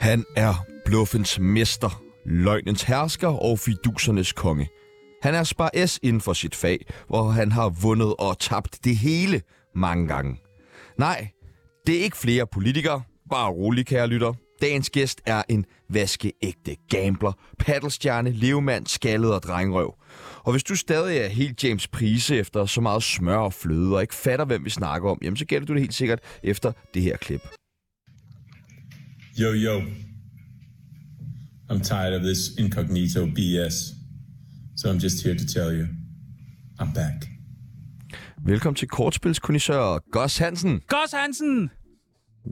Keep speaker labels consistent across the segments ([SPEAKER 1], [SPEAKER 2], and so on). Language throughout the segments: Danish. [SPEAKER 1] Han er bluffens mester, løgnens hersker og fidusernes konge. Han er spar S inden for sit fag, hvor han har vundet og tabt det hele mange gange. Nej, det er ikke flere politikere. Bare rolig, kære lytter. Dagens gæst er en vaskeægte gambler, paddelstjerne, levemand, skaldet og drengrøv. Og hvis du stadig er helt James Prise efter så meget smør og fløde og ikke fatter, hvem vi snakker om, jamen så gælder du det helt sikkert efter det her klip.
[SPEAKER 2] Yo, yo. I'm tired of this incognito BS. So I'm just here to tell you, I'm back.
[SPEAKER 1] Velkommen til kortspilskonisseur Goss Hansen.
[SPEAKER 3] Goss Hansen!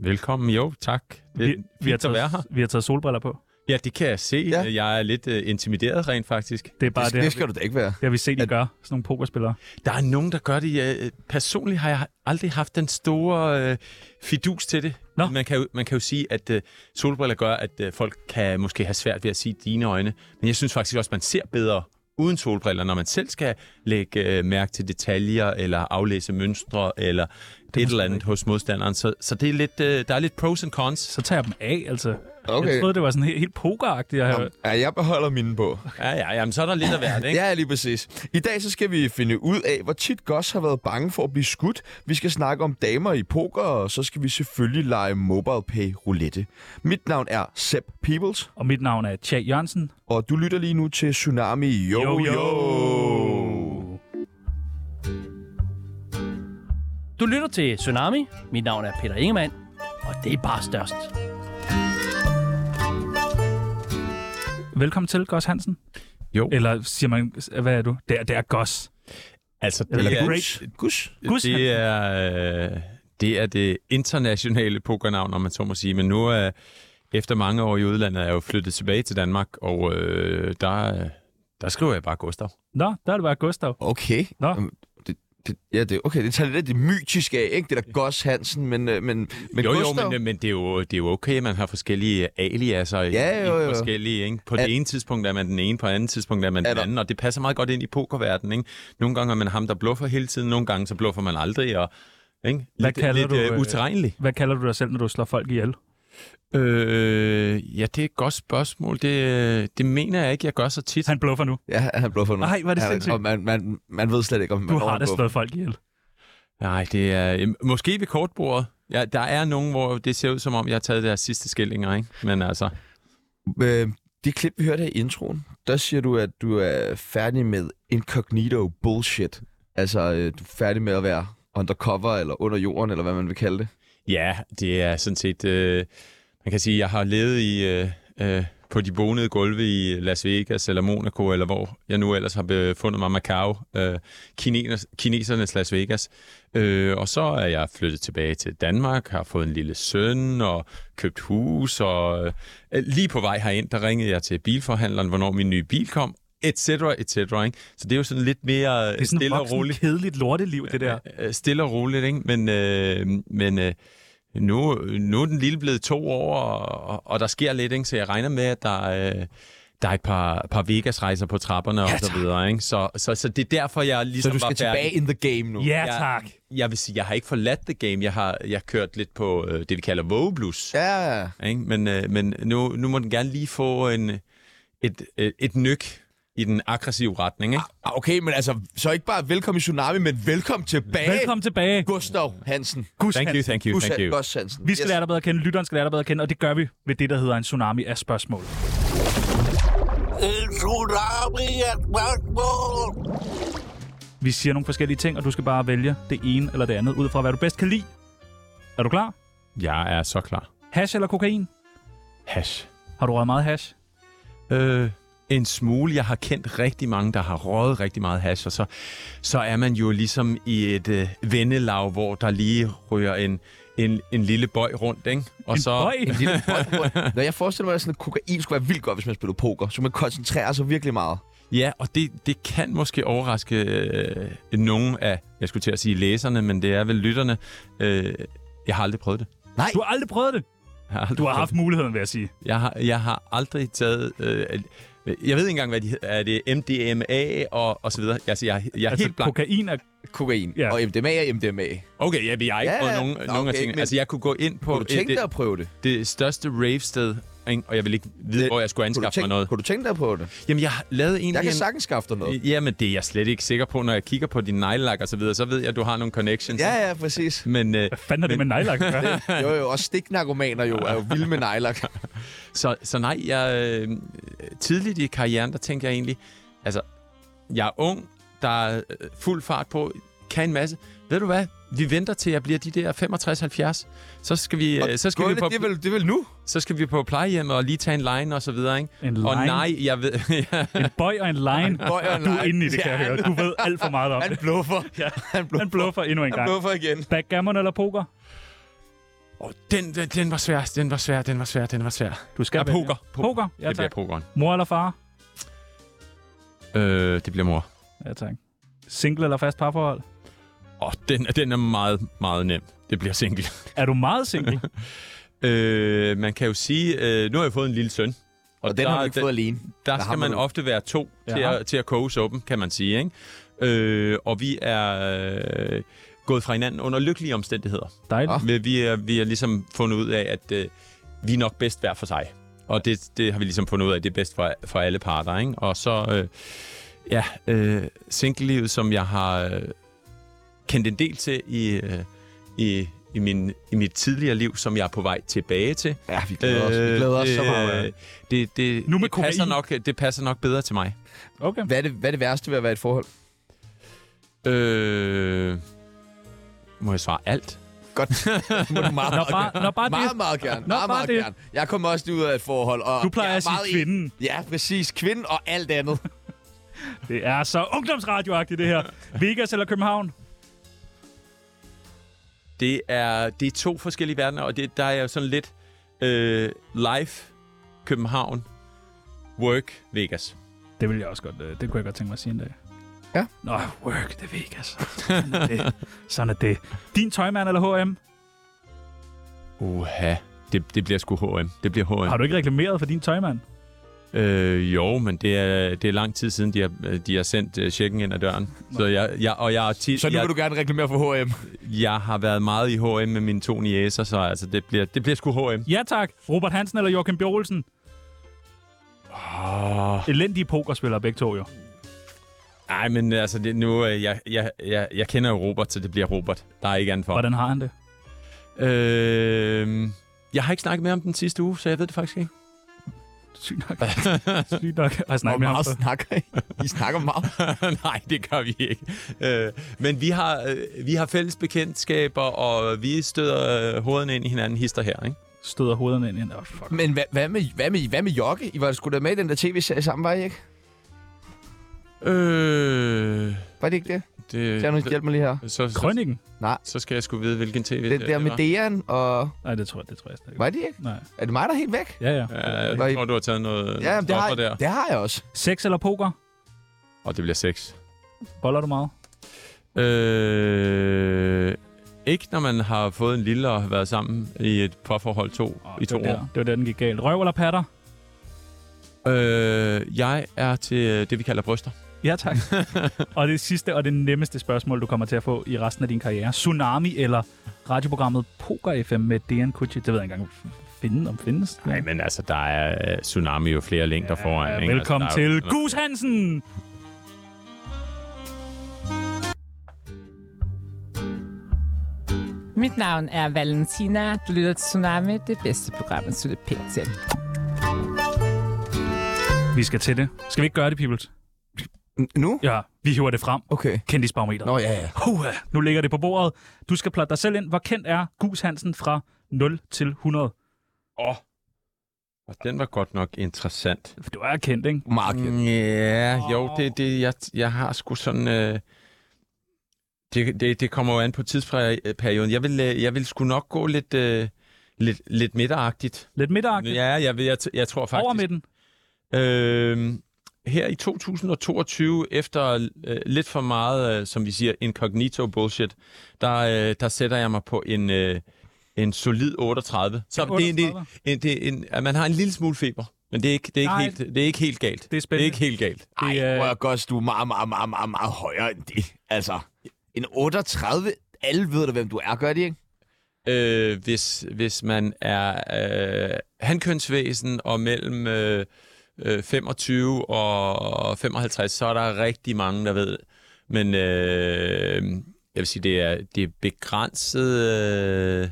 [SPEAKER 4] Velkommen, jo, tak. Det er
[SPEAKER 3] Vi, vi, har
[SPEAKER 4] fint at være her.
[SPEAKER 3] taget, vi har taget solbriller på.
[SPEAKER 4] Ja, det kan jeg se.
[SPEAKER 1] Ja.
[SPEAKER 4] Ja. Jeg er lidt uh, intimideret rent faktisk.
[SPEAKER 3] Det er bare det,
[SPEAKER 1] det, det
[SPEAKER 3] det,
[SPEAKER 1] skal du da ikke være.
[SPEAKER 3] har vi set, de gør. Sådan nogle pokerspillere.
[SPEAKER 4] Der er nogen, der gør det. Uh, personligt har jeg aldrig haft den store uh, fidus til det.
[SPEAKER 3] Nå.
[SPEAKER 4] Man, kan jo, man kan jo sige, at uh, solbriller gør, at uh, folk kan måske have svært ved at se dine øjne. Men jeg synes faktisk også, at man ser bedre uden solbriller, når man selv skal lægge uh, mærke til detaljer, eller aflæse mønstre, eller det et eller andet hos modstanderen. Så, så det er lidt, uh, der er lidt pros and cons.
[SPEAKER 3] Så tager jeg dem af, altså.
[SPEAKER 1] Okay.
[SPEAKER 3] Jeg troede, det var sådan helt, helt pokeragtigt. Jeg
[SPEAKER 1] Jamen, ja, jeg beholder mine på.
[SPEAKER 4] Ja, ja, jamen, så er der lidt af hvert, ikke?
[SPEAKER 1] Ja, lige præcis. I dag så skal vi finde ud af, hvor tit Goss har været bange for at blive skudt. Vi skal snakke om damer i poker, og så skal vi selvfølgelig lege mobile pay roulette. Mit navn er Sepp Peoples,
[SPEAKER 3] Og mit navn er Tja Jørgensen.
[SPEAKER 1] og du lytter lige nu til Tsunami Yo Yo.
[SPEAKER 3] Yo,
[SPEAKER 1] yo.
[SPEAKER 5] Du lytter til Tsunami. Mit navn er Peter Ingemann, og det er bare størst.
[SPEAKER 3] Velkommen til, Goss Hansen.
[SPEAKER 4] Jo.
[SPEAKER 3] Eller siger man, hvad er du? Det er, det er Goss.
[SPEAKER 4] Altså, det
[SPEAKER 3] Eller
[SPEAKER 4] er-
[SPEAKER 3] Gus.
[SPEAKER 1] Gus.
[SPEAKER 3] Gus Hansen.
[SPEAKER 4] det er, øh, det er det internationale pokernavn, om man så må sige. Men nu er efter mange år i udlandet, er jeg jo flyttet tilbage til Danmark, og øh, der, øh, der skriver jeg bare Gustav.
[SPEAKER 3] Nå, der er det bare Gustav.
[SPEAKER 1] Okay.
[SPEAKER 3] Nå.
[SPEAKER 1] Jamen, Det, det, ja, det, okay, det tager lidt af det mytiske af, ikke? Det der Goss Hansen, men, øh, men, men
[SPEAKER 4] jo,
[SPEAKER 1] Gustav...
[SPEAKER 4] jo, men, men det, er jo, det er jo okay, man har forskellige aliaser i-
[SPEAKER 1] Ja, jo,
[SPEAKER 4] i
[SPEAKER 1] jo.
[SPEAKER 4] forskellige. Ikke? På
[SPEAKER 1] Er-
[SPEAKER 4] det ene tidspunkt er man den ene, på det andet tidspunkt er man
[SPEAKER 1] Er
[SPEAKER 4] den
[SPEAKER 1] der-
[SPEAKER 4] anden, og det passer meget godt ind i pokerverdenen. Ikke? Nogle gange er man ham, der bluffer hele tiden, nogle gange så bluffer man aldrig, og ikke?
[SPEAKER 3] Hvad
[SPEAKER 4] lidt,
[SPEAKER 3] kalder
[SPEAKER 4] lidt
[SPEAKER 3] du,
[SPEAKER 4] øh,
[SPEAKER 3] øh,
[SPEAKER 4] utilregnelig.
[SPEAKER 3] Hvad kalder du dig selv, når du slår folk ihjel?
[SPEAKER 4] Øh, ja, det er et godt spørgsmål. Det, det mener jeg ikke, jeg gør så tit.
[SPEAKER 3] Han bluffer nu.
[SPEAKER 1] Ja, han bluffer nu.
[SPEAKER 3] Nej, hvor er det
[SPEAKER 1] Ja,
[SPEAKER 3] sindssygt.
[SPEAKER 1] Og man, man, man ved slet ikke, om man
[SPEAKER 3] Du har da
[SPEAKER 1] overbluffer.
[SPEAKER 3] slået folk ihjel.
[SPEAKER 4] Nej, det er øh, måske ved kortbordet. Ja, der er nogen, hvor det ser ud som om, jeg har taget deres sidste skillinger, ikke? Men altså,
[SPEAKER 1] Øh, det klip, vi hørte her i introen, der siger du, at du er færdig med incognito bullshit. Altså, øh, du er færdig med at være undercover, eller under jorden, eller hvad man vil kalde det.
[SPEAKER 4] ja, det er sådan set... Øh, man kan sige, jeg har levet i, øh, øh, på de bonede gulve i Las Vegas eller Monaco, eller hvor jeg nu ellers har befundet mig, Macau, øh, kineser, kinesernes Las Vegas. Øh, og så er jeg flyttet tilbage til Danmark, har fået en lille søn og købt hus, og øh, lige på vej herind, der ringede jeg til bilforhandleren, hvornår min nye bil kom, et cetera, et cetera, ikke? Så det er jo sådan lidt mere
[SPEAKER 3] Det er sådan
[SPEAKER 4] stille og
[SPEAKER 3] et
[SPEAKER 4] roligt
[SPEAKER 3] kedeligt lorteliv, det der.
[SPEAKER 4] øh, stille og roligt, ikke? Men, øh, men øh, nu, nu er den lille blevet to år, og, og der sker lidt, ikke? Så jeg regner med, at der, øh, der er et par, par Vegas-rejser på trapperne og så videre, ikke? Så, så, så det er derfor, jeg
[SPEAKER 1] Så
[SPEAKER 4] ligesom
[SPEAKER 1] du skal
[SPEAKER 4] var
[SPEAKER 1] tilbage
[SPEAKER 4] færdig.
[SPEAKER 1] in the game nu.
[SPEAKER 3] Ja,
[SPEAKER 4] Ja.
[SPEAKER 3] tak.
[SPEAKER 4] Jeg vil sige, jeg har ikke forladt the game. Jeg har jeg har kørt lidt på øh, det, vi kalder vågeblus.
[SPEAKER 1] Ja,
[SPEAKER 4] Ikke? Men, øh, men nu, nu må den gerne lige få en, et, et, et nyk i den aggressive retning, ikke?
[SPEAKER 1] Ah, okay, men altså, så ikke bare velkommen i Tsunami, men velkommen tilbage,
[SPEAKER 3] Velkommen tilbage.
[SPEAKER 1] Gustav Hansen.
[SPEAKER 3] Gus
[SPEAKER 4] Thank you,
[SPEAKER 3] Hansen.
[SPEAKER 4] thank you,
[SPEAKER 1] Gus
[SPEAKER 4] thank you.
[SPEAKER 1] Gus Hansen.
[SPEAKER 3] Vi skal lære dig bedre at kende, lytteren skal lære dig bedre at kende, og det gør vi ved det, der hedder en tsunami af spørgsmål.
[SPEAKER 6] En tsunami af spørgsmål.
[SPEAKER 3] Vi siger nogle forskellige ting, og du skal bare vælge det ene eller det andet, ud fra hvad du bedst kan lide. Er du klar?
[SPEAKER 4] Jeg er så klar.
[SPEAKER 3] Hash eller kokain?
[SPEAKER 4] Hash.
[SPEAKER 3] Har du røget meget hash?
[SPEAKER 4] Øh, en smule. Jeg har kendt rigtig mange, der har røget rigtig meget hash, og så, så er man jo ligesom i et øh, vennelag, hvor der lige ryger en, en, en lille bøj rundt, ikke? Og
[SPEAKER 3] En
[SPEAKER 4] så,
[SPEAKER 3] bøj?
[SPEAKER 1] En lille bold- Når jeg forestiller mig, at sådan, at kokain skulle være vildt godt, hvis man spillede poker, så man koncentrerer sig virkelig meget.
[SPEAKER 4] Ja, og det, det kan måske overraske øh, nogen af, jeg skulle til at sige læserne, men det er vel lytterne. Øh, jeg har aldrig prøvet det.
[SPEAKER 3] Du har aldrig prøvet det.
[SPEAKER 4] Jeg har aldrig
[SPEAKER 3] Du har
[SPEAKER 4] prøvet
[SPEAKER 3] haft muligheden, vil jeg sige.
[SPEAKER 4] Jeg har, jeg har aldrig taget... Øh, jeg ved ikke engang, hvad de hedder. Er det MDMA og, og så videre? Altså, jeg, jeg er
[SPEAKER 3] altså,
[SPEAKER 4] helt blank.
[SPEAKER 3] kokain er
[SPEAKER 1] kokain
[SPEAKER 3] Ja.
[SPEAKER 1] ja. og MDMA er MDMA.
[SPEAKER 4] Okay, ja, vi har ikke
[SPEAKER 1] Ja,
[SPEAKER 4] ja,
[SPEAKER 1] ja.
[SPEAKER 4] nogen,
[SPEAKER 1] Nå,
[SPEAKER 4] okay, nogen af
[SPEAKER 1] okay,
[SPEAKER 4] tingene.
[SPEAKER 1] men-
[SPEAKER 4] Altså, jeg kunne gå ind på
[SPEAKER 1] Kunne du tænke
[SPEAKER 4] det,
[SPEAKER 1] dig at prøve det?
[SPEAKER 4] det største ravested, ikke? og jeg ville ikke vide, hvor jeg skulle
[SPEAKER 1] Kunne du,
[SPEAKER 4] anskaffe mig
[SPEAKER 1] tænke,
[SPEAKER 4] noget.
[SPEAKER 1] kunne du tænke dig at prøve det?
[SPEAKER 4] Jamen, jeg lavede egentlig...
[SPEAKER 1] Jeg kan
[SPEAKER 4] en-
[SPEAKER 1] sagtens skaffe dig noget.
[SPEAKER 4] Jamen, det er jeg slet ikke sikker på, når jeg kigger på din nejlak og så videre. Så ved jeg, at du har nogle connections.
[SPEAKER 1] Ja, ja, præcis.
[SPEAKER 4] Men øh,
[SPEAKER 3] Fanden er det med nejlagt?
[SPEAKER 1] Jo, jo, også stiknarkomaner jo er jo vilde med nejlak.
[SPEAKER 4] så, så nej, jeg, øh, tidligt i karrieren, der tænkte jeg egentlig, altså, jeg er ung, der er øh, fuld fart på, kan en masse. Ved du hvad? Vi venter til jeg bliver de der 65-70. Så skal vi, øh, så skal vi
[SPEAKER 1] Gulvet,
[SPEAKER 4] på,
[SPEAKER 1] det, er vel, det er vel nu?
[SPEAKER 4] så skal vi på plejehjem og lige tage en line og så videre, ikke?
[SPEAKER 3] En
[SPEAKER 4] Og
[SPEAKER 3] line?
[SPEAKER 4] nej, jeg ved... ja.
[SPEAKER 3] En bøj og en line.
[SPEAKER 1] bøj og en
[SPEAKER 3] Du er
[SPEAKER 1] line.
[SPEAKER 3] inde i det, kan jeg
[SPEAKER 1] Ja.
[SPEAKER 3] høre. Du ved alt for meget om
[SPEAKER 1] Han
[SPEAKER 3] det.
[SPEAKER 1] bluffer.
[SPEAKER 3] Ja.
[SPEAKER 1] Han bluffer.
[SPEAKER 3] Han bluffer endnu en
[SPEAKER 1] Han
[SPEAKER 3] gang.
[SPEAKER 1] bluffer igen.
[SPEAKER 3] Backgammon eller poker?
[SPEAKER 4] oh, den, den, den var svær, den var svær, den var svær, den var svær.
[SPEAKER 3] Du skal
[SPEAKER 4] Ja,
[SPEAKER 3] vælge.
[SPEAKER 4] poker.
[SPEAKER 3] Poker? Ja,
[SPEAKER 4] det bliver
[SPEAKER 3] tak.
[SPEAKER 4] pokeren.
[SPEAKER 3] Mor eller far?
[SPEAKER 4] Øh, det bliver mor.
[SPEAKER 3] Ja, tak. Single eller fast parforhold?
[SPEAKER 4] Åh, oh, den, den er meget, meget nem. Det bliver single.
[SPEAKER 3] Er du meget single?
[SPEAKER 4] Øh, man kan jo sige, øh, nu har jeg fået en lille søn.
[SPEAKER 1] Og den
[SPEAKER 4] der,
[SPEAKER 1] har du ikke
[SPEAKER 4] der,
[SPEAKER 1] fået alene.
[SPEAKER 4] der
[SPEAKER 1] Der
[SPEAKER 4] skal
[SPEAKER 1] hammer
[SPEAKER 4] man
[SPEAKER 1] du.
[SPEAKER 4] ofte være to
[SPEAKER 3] Ja.
[SPEAKER 4] til at, til at koge suppen, kan man sige. Ikke? Øh, og vi er øh, gået fra hinanden under lykkelige omstændigheder.
[SPEAKER 3] Dejligt.
[SPEAKER 4] Vi, vi, er, vi har ligesom fundet ud af, at øh, vi er nok bedst hver for sig. Og det, det har vi ligesom fundet ud af, det er bedst for, for alle parter. Ikke? Og så, øh, ja, øh, single-livet, som jeg har øh, kendt en del til i, øh, i, i, min, i mit tidligere liv, som jeg er på vej tilbage til.
[SPEAKER 1] Ja, vi glæder os. Vi glæder os så meget.
[SPEAKER 4] Øh, det, det,
[SPEAKER 3] Nu med
[SPEAKER 4] det, passer
[SPEAKER 3] kokain.
[SPEAKER 4] nok, det passer nok bedre til mig.
[SPEAKER 3] Okay.
[SPEAKER 1] Hvad er, det, hvad er det værste ved at være i et forhold?
[SPEAKER 4] Øh, må jeg svare alt?
[SPEAKER 1] Godt. Det må du meget,
[SPEAKER 3] Når
[SPEAKER 1] meget
[SPEAKER 3] bare,
[SPEAKER 1] gerne.
[SPEAKER 3] når bare
[SPEAKER 1] Meget,
[SPEAKER 3] det...
[SPEAKER 1] meget gerne.
[SPEAKER 3] Nå,
[SPEAKER 1] Meget,
[SPEAKER 3] bare
[SPEAKER 1] meget
[SPEAKER 3] det.
[SPEAKER 1] gerne. Jeg kommer også lige ud af et forhold. Og
[SPEAKER 3] Du plejer
[SPEAKER 1] jeg er
[SPEAKER 3] at sige
[SPEAKER 1] meget i-
[SPEAKER 3] kvinden.
[SPEAKER 1] Ja, præcis. Kvinden og alt andet.
[SPEAKER 3] Det er så ungdomsradioagtigt, det her. Vegas eller København?
[SPEAKER 4] Det er, det er to forskellige verdener, og det, der er jo sådan lidt øh, live København, work Vegas.
[SPEAKER 3] Det vil jeg også godt. øh, Det kunne jeg godt tænke mig at sige en dag.
[SPEAKER 1] Ja.
[SPEAKER 3] Nå, work, det er Vegas. Sådan er det. Sådan er det. Din tøjmand eller H&M?
[SPEAKER 4] Uha, det, det bliver sgu H&M. Det bliver H&M.
[SPEAKER 3] Har du ikke reklameret for din tøjmand?
[SPEAKER 4] Øh, jo, men det er, det er lang tid siden, de har, de har sendt øh, checken ind ad døren. Så jeg, jeg, og jeg, er tit,
[SPEAKER 1] Så nu
[SPEAKER 4] jeg,
[SPEAKER 1] vil du gerne reklamere for H&M.
[SPEAKER 4] jeg har været meget i H&M med mine to niæser, så altså, det, bliver, det bliver sgu H&M.
[SPEAKER 3] Ja tak. Robert Hansen eller Joachim B. Olsen?
[SPEAKER 4] Åh,
[SPEAKER 3] Elendige pokerspillere begge to jo.
[SPEAKER 4] Nej, men altså, det, nu, øh, jeg, jeg, jeg, jeg kender jo Robert, så det bliver Robert. Der er ikke andet for.
[SPEAKER 3] Hvordan har han det?
[SPEAKER 4] Øh, jeg har ikke snakket med ham den sidste uge, så jeg ved det faktisk ikke.
[SPEAKER 3] Sygt nok. Sygt nok. Har jeg snakket
[SPEAKER 1] Hvor
[SPEAKER 3] med ham
[SPEAKER 1] meget
[SPEAKER 3] før?
[SPEAKER 1] snakker I? I snakker meget.
[SPEAKER 4] Nej, det gør vi ikke. Øh, men vi har, øh, vi har fælles bekendtskaber, og vi støder øh, hovederne ind i hinanden hister her, ikke?
[SPEAKER 3] Støder hovederne ind i en... Oh, fuck.
[SPEAKER 1] Men hvad, hvad, med, hvad, med, hvad med Jokke? I var sgu da med i den der tv-serie sammen, var I ikke?
[SPEAKER 4] Øh,
[SPEAKER 1] Var det ikke det?
[SPEAKER 4] det,
[SPEAKER 1] Tjerno, hjælp mig lige her.
[SPEAKER 4] så, så,
[SPEAKER 3] Krønningen?
[SPEAKER 4] så skal jeg sgu vide, hvilken tv
[SPEAKER 1] Det der med
[SPEAKER 4] var.
[SPEAKER 1] Dejan og...
[SPEAKER 3] Nej, det tror jeg, det tror jeg slet ikke.
[SPEAKER 1] Var det ikke?
[SPEAKER 3] Nej.
[SPEAKER 1] Er det mig, der er helt væk?
[SPEAKER 3] Ja, ja.
[SPEAKER 4] Ja,
[SPEAKER 1] Var I-
[SPEAKER 4] jeg tror, du har taget noget
[SPEAKER 1] Ja,
[SPEAKER 4] ja,
[SPEAKER 1] men det har,
[SPEAKER 4] stoffer der.
[SPEAKER 1] det har jeg også.
[SPEAKER 3] Sex eller poker?
[SPEAKER 4] Og det bliver sex.
[SPEAKER 3] Boller du meget?
[SPEAKER 4] Øh, ikke når man har fået en lille og har været sammen i et parforhold to, i to
[SPEAKER 3] det var
[SPEAKER 4] år.
[SPEAKER 3] der. Det var der, den gik galt. Røv eller patter?
[SPEAKER 4] Øh, jeg er til øh, det, vi kalder bryster.
[SPEAKER 3] Ja, tak. og det sidste og det nemmeste spørgsmål, du kommer til at få i resten af din karriere. Tsunami eller radioprogrammet Poker FM med DN Kutschi? Det ved jeg ikke engang, f- finde om findes.
[SPEAKER 4] Nej, men altså, der er øh, tsunami jo flere længder ja, foran. ikke?
[SPEAKER 3] Velkommen
[SPEAKER 4] altså, der er jo-
[SPEAKER 3] til Gus Hansen!
[SPEAKER 7] Mit navn er Valentina. Du lytter til Tsunami, det bedste program, at slutte pænt til.
[SPEAKER 3] Vi skal til det. Skal vi ikke gøre det, Peoples?
[SPEAKER 1] N- Nu?
[SPEAKER 3] Ja, vi hiver det frem.
[SPEAKER 1] Okay.
[SPEAKER 3] Kendisbarometer.
[SPEAKER 1] Nå, ja, ja.
[SPEAKER 3] Puha, nu ligger det på bordet. Du skal plotte dig selv ind. Hvor kendt er Gus Hansen fra 0 til 100?
[SPEAKER 4] Og den var godt nok interessant. Mm,
[SPEAKER 3] For du er kendt, ikke?
[SPEAKER 1] Meget kendt.
[SPEAKER 4] Ja, jo, det det. Jeg, jeg har sgu sådan... Øh, det, det, det kommer jo an på tidsperioden. Jeg vil, øh, jeg vil sgu nok gå lidt, øh, lidt, lidt midteragtigt.
[SPEAKER 3] Lidt midteragtigt.
[SPEAKER 4] Ja, jeg, vil, jeg, t- jeg tror faktisk...
[SPEAKER 3] Over midten.
[SPEAKER 4] Øhm, her i 2022, efter øh, lidt for meget, øh, som vi siger, incognito bullshit, der, øh, der sætter jeg mig på en, øh, en solid 38. Så
[SPEAKER 3] En
[SPEAKER 4] Det, er
[SPEAKER 3] 38?
[SPEAKER 4] en, en, det er en, at man har en lille smule feber, men det er ikke, det er ikke,
[SPEAKER 3] Nej.
[SPEAKER 4] helt, det er ikke helt galt.
[SPEAKER 3] Det er
[SPEAKER 4] det er
[SPEAKER 3] spændende.
[SPEAKER 4] ikke helt galt.
[SPEAKER 1] Ej,
[SPEAKER 3] Det er-
[SPEAKER 1] prøv at Goss, du er meget, meget, meget, meget, meget højere end det. Altså, En 38? Alle ved da, hvem du er, gør de ikke?
[SPEAKER 4] øh, hvis, hvis man er øh, handkønsvæsen og mellem øh, øh, 25 og 55, så er der rigtig mange, der ved. Men øh, jeg vil sige, det er, det er begrænset øh,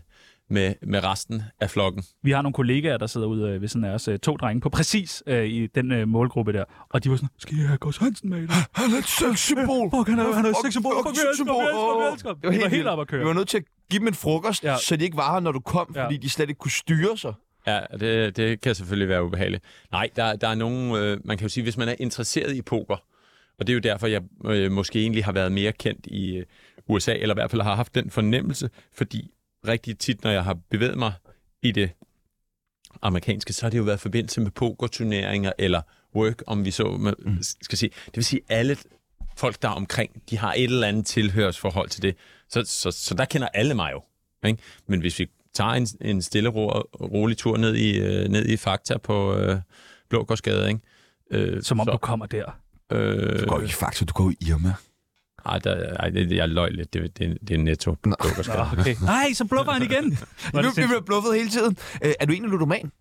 [SPEAKER 4] med, med resten af flokken.
[SPEAKER 3] Vi har nogle kollegaer, der sidder ude øh, ved sådan af os. øh, To drenge på præcis øh, i den øh, målgruppe der. Og de var sådan, skal jeg have Gårds Hansen med i dag?
[SPEAKER 1] Han er et sexsymbol.
[SPEAKER 3] Fuck, han er, han er et
[SPEAKER 1] Fuck,
[SPEAKER 3] sexsymbol. Fuck, vi elsker ham, vi elsker ham, vi elsker ham.
[SPEAKER 1] Det var helt,
[SPEAKER 3] helt
[SPEAKER 1] vildt.
[SPEAKER 3] op at køre.
[SPEAKER 1] Vi var nødt til at give dem en frokost,
[SPEAKER 3] Ja.
[SPEAKER 1] ja. så de ikke var her, når du kom,
[SPEAKER 3] Ja.
[SPEAKER 1] fordi de slet ikke kunne styre sig.
[SPEAKER 4] Ja, det, det kan selvfølgelig være ubehageligt. Nej, der, der er nogen, øh, man kan jo sige, hvis man er interesseret i poker, og det er jo derfor, jeg øh, måske egentlig har været mere kendt i øh, USA, eller i hvert fald har haft den fornemmelse, fordi rigtig tit, når jeg har bevæget mig i det amerikanske, så har det jo været i forbindelse med pokerturneringer, eller work, om vi så man mm. skal sige. Det vil sige, alle folk, der er omkring, de har et eller andet tilhørsforhold til det. Så, så, så der kender alle mig jo. Ikke? Men hvis vi tager en, en stille ro, rolig tur ned i, øh, ned i Fakta på øh, Blågårdsgade, ikke? Øh,
[SPEAKER 3] Som om du kommer der.
[SPEAKER 4] øh,
[SPEAKER 1] Du går ikke i Fakta, du går i Irma.
[SPEAKER 4] ej, der, ej, det, jeg løg lidt. Det, det, det er netto.
[SPEAKER 3] Nå, okay. Nej, så bluffer han igen. Var
[SPEAKER 1] Nu
[SPEAKER 3] det
[SPEAKER 1] bliver vi bluffet hele tiden. Øh, er du egentlig ludoman?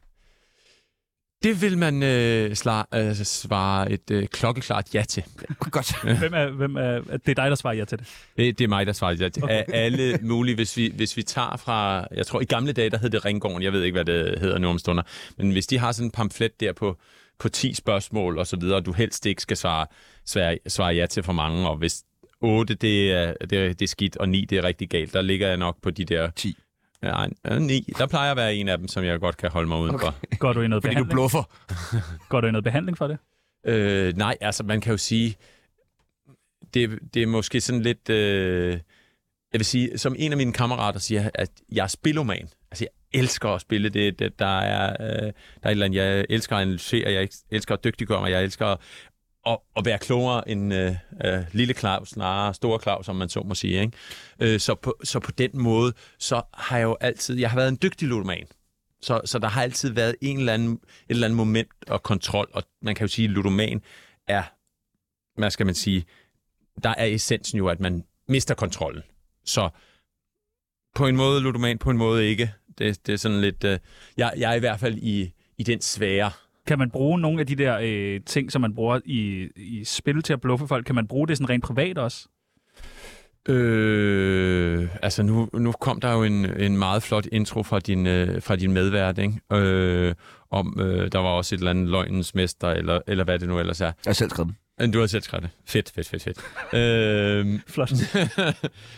[SPEAKER 4] Det vil man øh, sla, øh, svare et øh, klokkeklart ja til.
[SPEAKER 1] Godt.
[SPEAKER 3] sindssygt? hvem er, hvem er, det er dig, der svarer ja til det.
[SPEAKER 4] Det, det er mig, der svarer ja til. Af alle mulige, hvis vi, hvis vi tager fra... Jeg tror, i gamle dage, der hed det Ringgården. Jeg ved ikke, hvad det hedder nu om stunder. Men hvis de har sådan en pamflet der på, på 10 spørgsmål og så videre, og du helst ikke skal svare, svare, svare ja til for mange, og hvis 8, det er, det, er- det er skidt, og 9, det er rigtig galt, der ligger jeg nok på de der...
[SPEAKER 1] 10.
[SPEAKER 4] Nej, øh, 9. Der plejer at være en af dem, som jeg godt kan holde mig udenfor. Okay.
[SPEAKER 3] Går du i noget,
[SPEAKER 1] Fordi du
[SPEAKER 3] behandling?
[SPEAKER 1] bluffer.
[SPEAKER 3] Går du i noget behandling for det?
[SPEAKER 4] Øh, nej, altså man kan jo sige, det, det er måske sådan lidt, øh, jeg vil sige, som en af mine kammerater siger, at jeg er spilloman. Altså jeg elsker at spille det, det der, er, øh, der er et eller andet, jeg elsker at analysere, jeg elsker at dygtiggøre mig, jeg elsker at, at, at være klogere end øh, øh, lille Claus, snarere store Claus, som man så må sige. Ikke? Øh, så, på, så på den måde, så har jeg jo altid, jeg har været en dygtig ludoman. Så, så der har altid været en eller anden, et eller andet moment og kontrol, og man kan jo sige, at ludoman er, hvad skal man sige, der er essensen jo, at man mister kontrollen. Så på en måde ludoman, på en måde ikke. Det, det er sådan lidt, øh, jeg, jeg er i hvert fald i, i den svære.
[SPEAKER 3] Kan man bruge nogle af de der øh, ting, som man bruger i, i spil til at bluffe folk? Kan man bruge det sådan rent privat også?
[SPEAKER 4] Øh, altså nu, nu kom der jo en, en meget flot intro fra din, øh, fra din medvært, ikke? Øh, om øh, der var også et eller andet løgnens mester, eller, eller hvad det nu ellers er.
[SPEAKER 1] Jeg har selv skrevet den.
[SPEAKER 4] Men Du har selv skrevet det. Fedt, fedt, fedt, fedt. øhm,
[SPEAKER 3] Flot.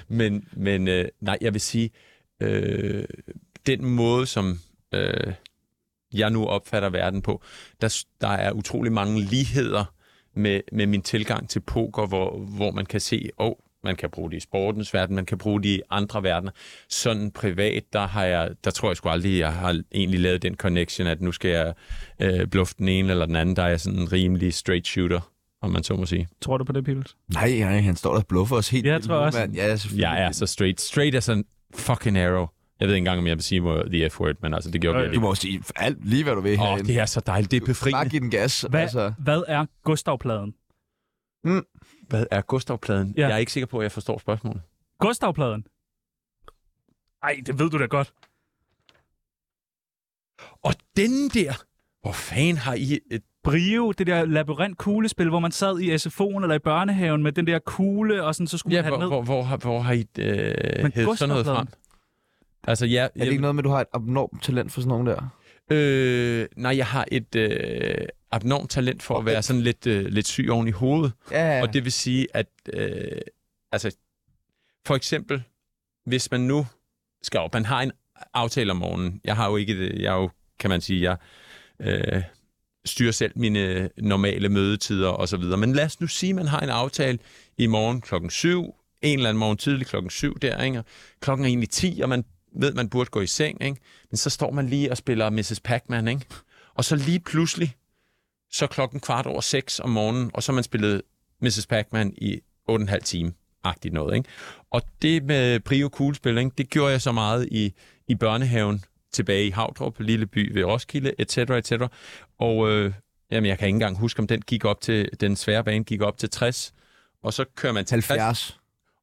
[SPEAKER 4] men men øh, nej, jeg vil sige, øh, den måde, som øh, jeg nu opfatter verden på, der, s- der er utrolig mange ligheder med, med min tilgang til poker, hvor, hvor man kan se, åh, oh, man kan bruge det i sportens verden, man kan bruge det i andre verdener. Sådan privat, der, har jeg, der tror jeg sgu aldrig, jeg har egentlig lavet den connection, at nu skal jeg øh, bluffe den ene eller den anden. Der er jeg sådan en rimelig straight shooter, om man så må sige.
[SPEAKER 3] Tror du på det, Pibels?
[SPEAKER 1] Nej, nej, han står der og bluffer os helt.
[SPEAKER 3] Ja, jeg
[SPEAKER 1] vildt,
[SPEAKER 3] tror også.
[SPEAKER 1] mand. Ja, selvfølgelig.
[SPEAKER 4] Jeg er så straight. Straight er sådan fucking arrow. Jeg ved ikke engang, om jeg vil sige hvor- the F-word, men altså, det gjorde
[SPEAKER 3] Jo,
[SPEAKER 4] jeg
[SPEAKER 3] jo.
[SPEAKER 1] Øh, Du
[SPEAKER 4] ikke.
[SPEAKER 1] må sige alt lige, hvad du vil
[SPEAKER 4] Åh, det er så dejligt. Det er
[SPEAKER 1] Bare
[SPEAKER 4] befriende.
[SPEAKER 1] giv den gas.
[SPEAKER 3] Hvad,
[SPEAKER 1] Altså,
[SPEAKER 3] hvad er Gustavpladen?
[SPEAKER 4] Hvad er Gustav-pladen?
[SPEAKER 3] Ja.
[SPEAKER 4] Jeg er ikke sikker på, at jeg forstår spørgsmålet.
[SPEAKER 3] Gustavpladen? Ej, det ved du da godt.
[SPEAKER 4] Og den der! Hvor fanden har I et...
[SPEAKER 3] Brio, det der labyrint-kuglespil, hvor man sad i SFO'en eller i børnehaven med den der kugle, og sådan, så skulle
[SPEAKER 4] Ja,
[SPEAKER 3] man have
[SPEAKER 4] hvor,
[SPEAKER 3] den ned.
[SPEAKER 4] hvor, hvor, har, hvor har I øh, hævet sådan noget frem?
[SPEAKER 3] Gustav-pladen?
[SPEAKER 4] Altså, ja,
[SPEAKER 1] er det ikke noget med, at du har et abnormt talent for sådan nogen der?
[SPEAKER 4] øh, nej, jeg har et øh, abnormt talent for at være sådan lidt, øh, lidt syg oven i hovedet.
[SPEAKER 1] Ja, ja.
[SPEAKER 4] Og det vil sige, at øh, altså, for eksempel, hvis man nu skal op, man har en aftale om morgenen. Jeg har jo ikke, det- jeg er jo, kan man sige, jeg øh, styrer selv mine normale mødetider og så videre. Men lad os nu sige, at man har en aftale i morgen klokken 7, en eller anden morgen tidlig klokken 7 der, ikke? Og klokken er egentlig 10, og man ved, man burde gå i seng, ikke? Men så står man lige og spiller Mrs. Pac-Man, ikke? Og så lige pludselig, så er klokken kvart over 6 om morgenen, og så har man spillet Mrs. Pac-Man i 8,5 time agtigt noget, ikke? Og det med Prio Kuglespil, ikke? det gjorde jeg så meget i, i børnehaven tilbage i Havdrup, lille by ved Roskilde, et cetera, et cetera. Og øh, jamen, jeg kan ikke engang huske, om den gik op til, den svære bane gik op til 60, og så kører man til 60,
[SPEAKER 1] 70.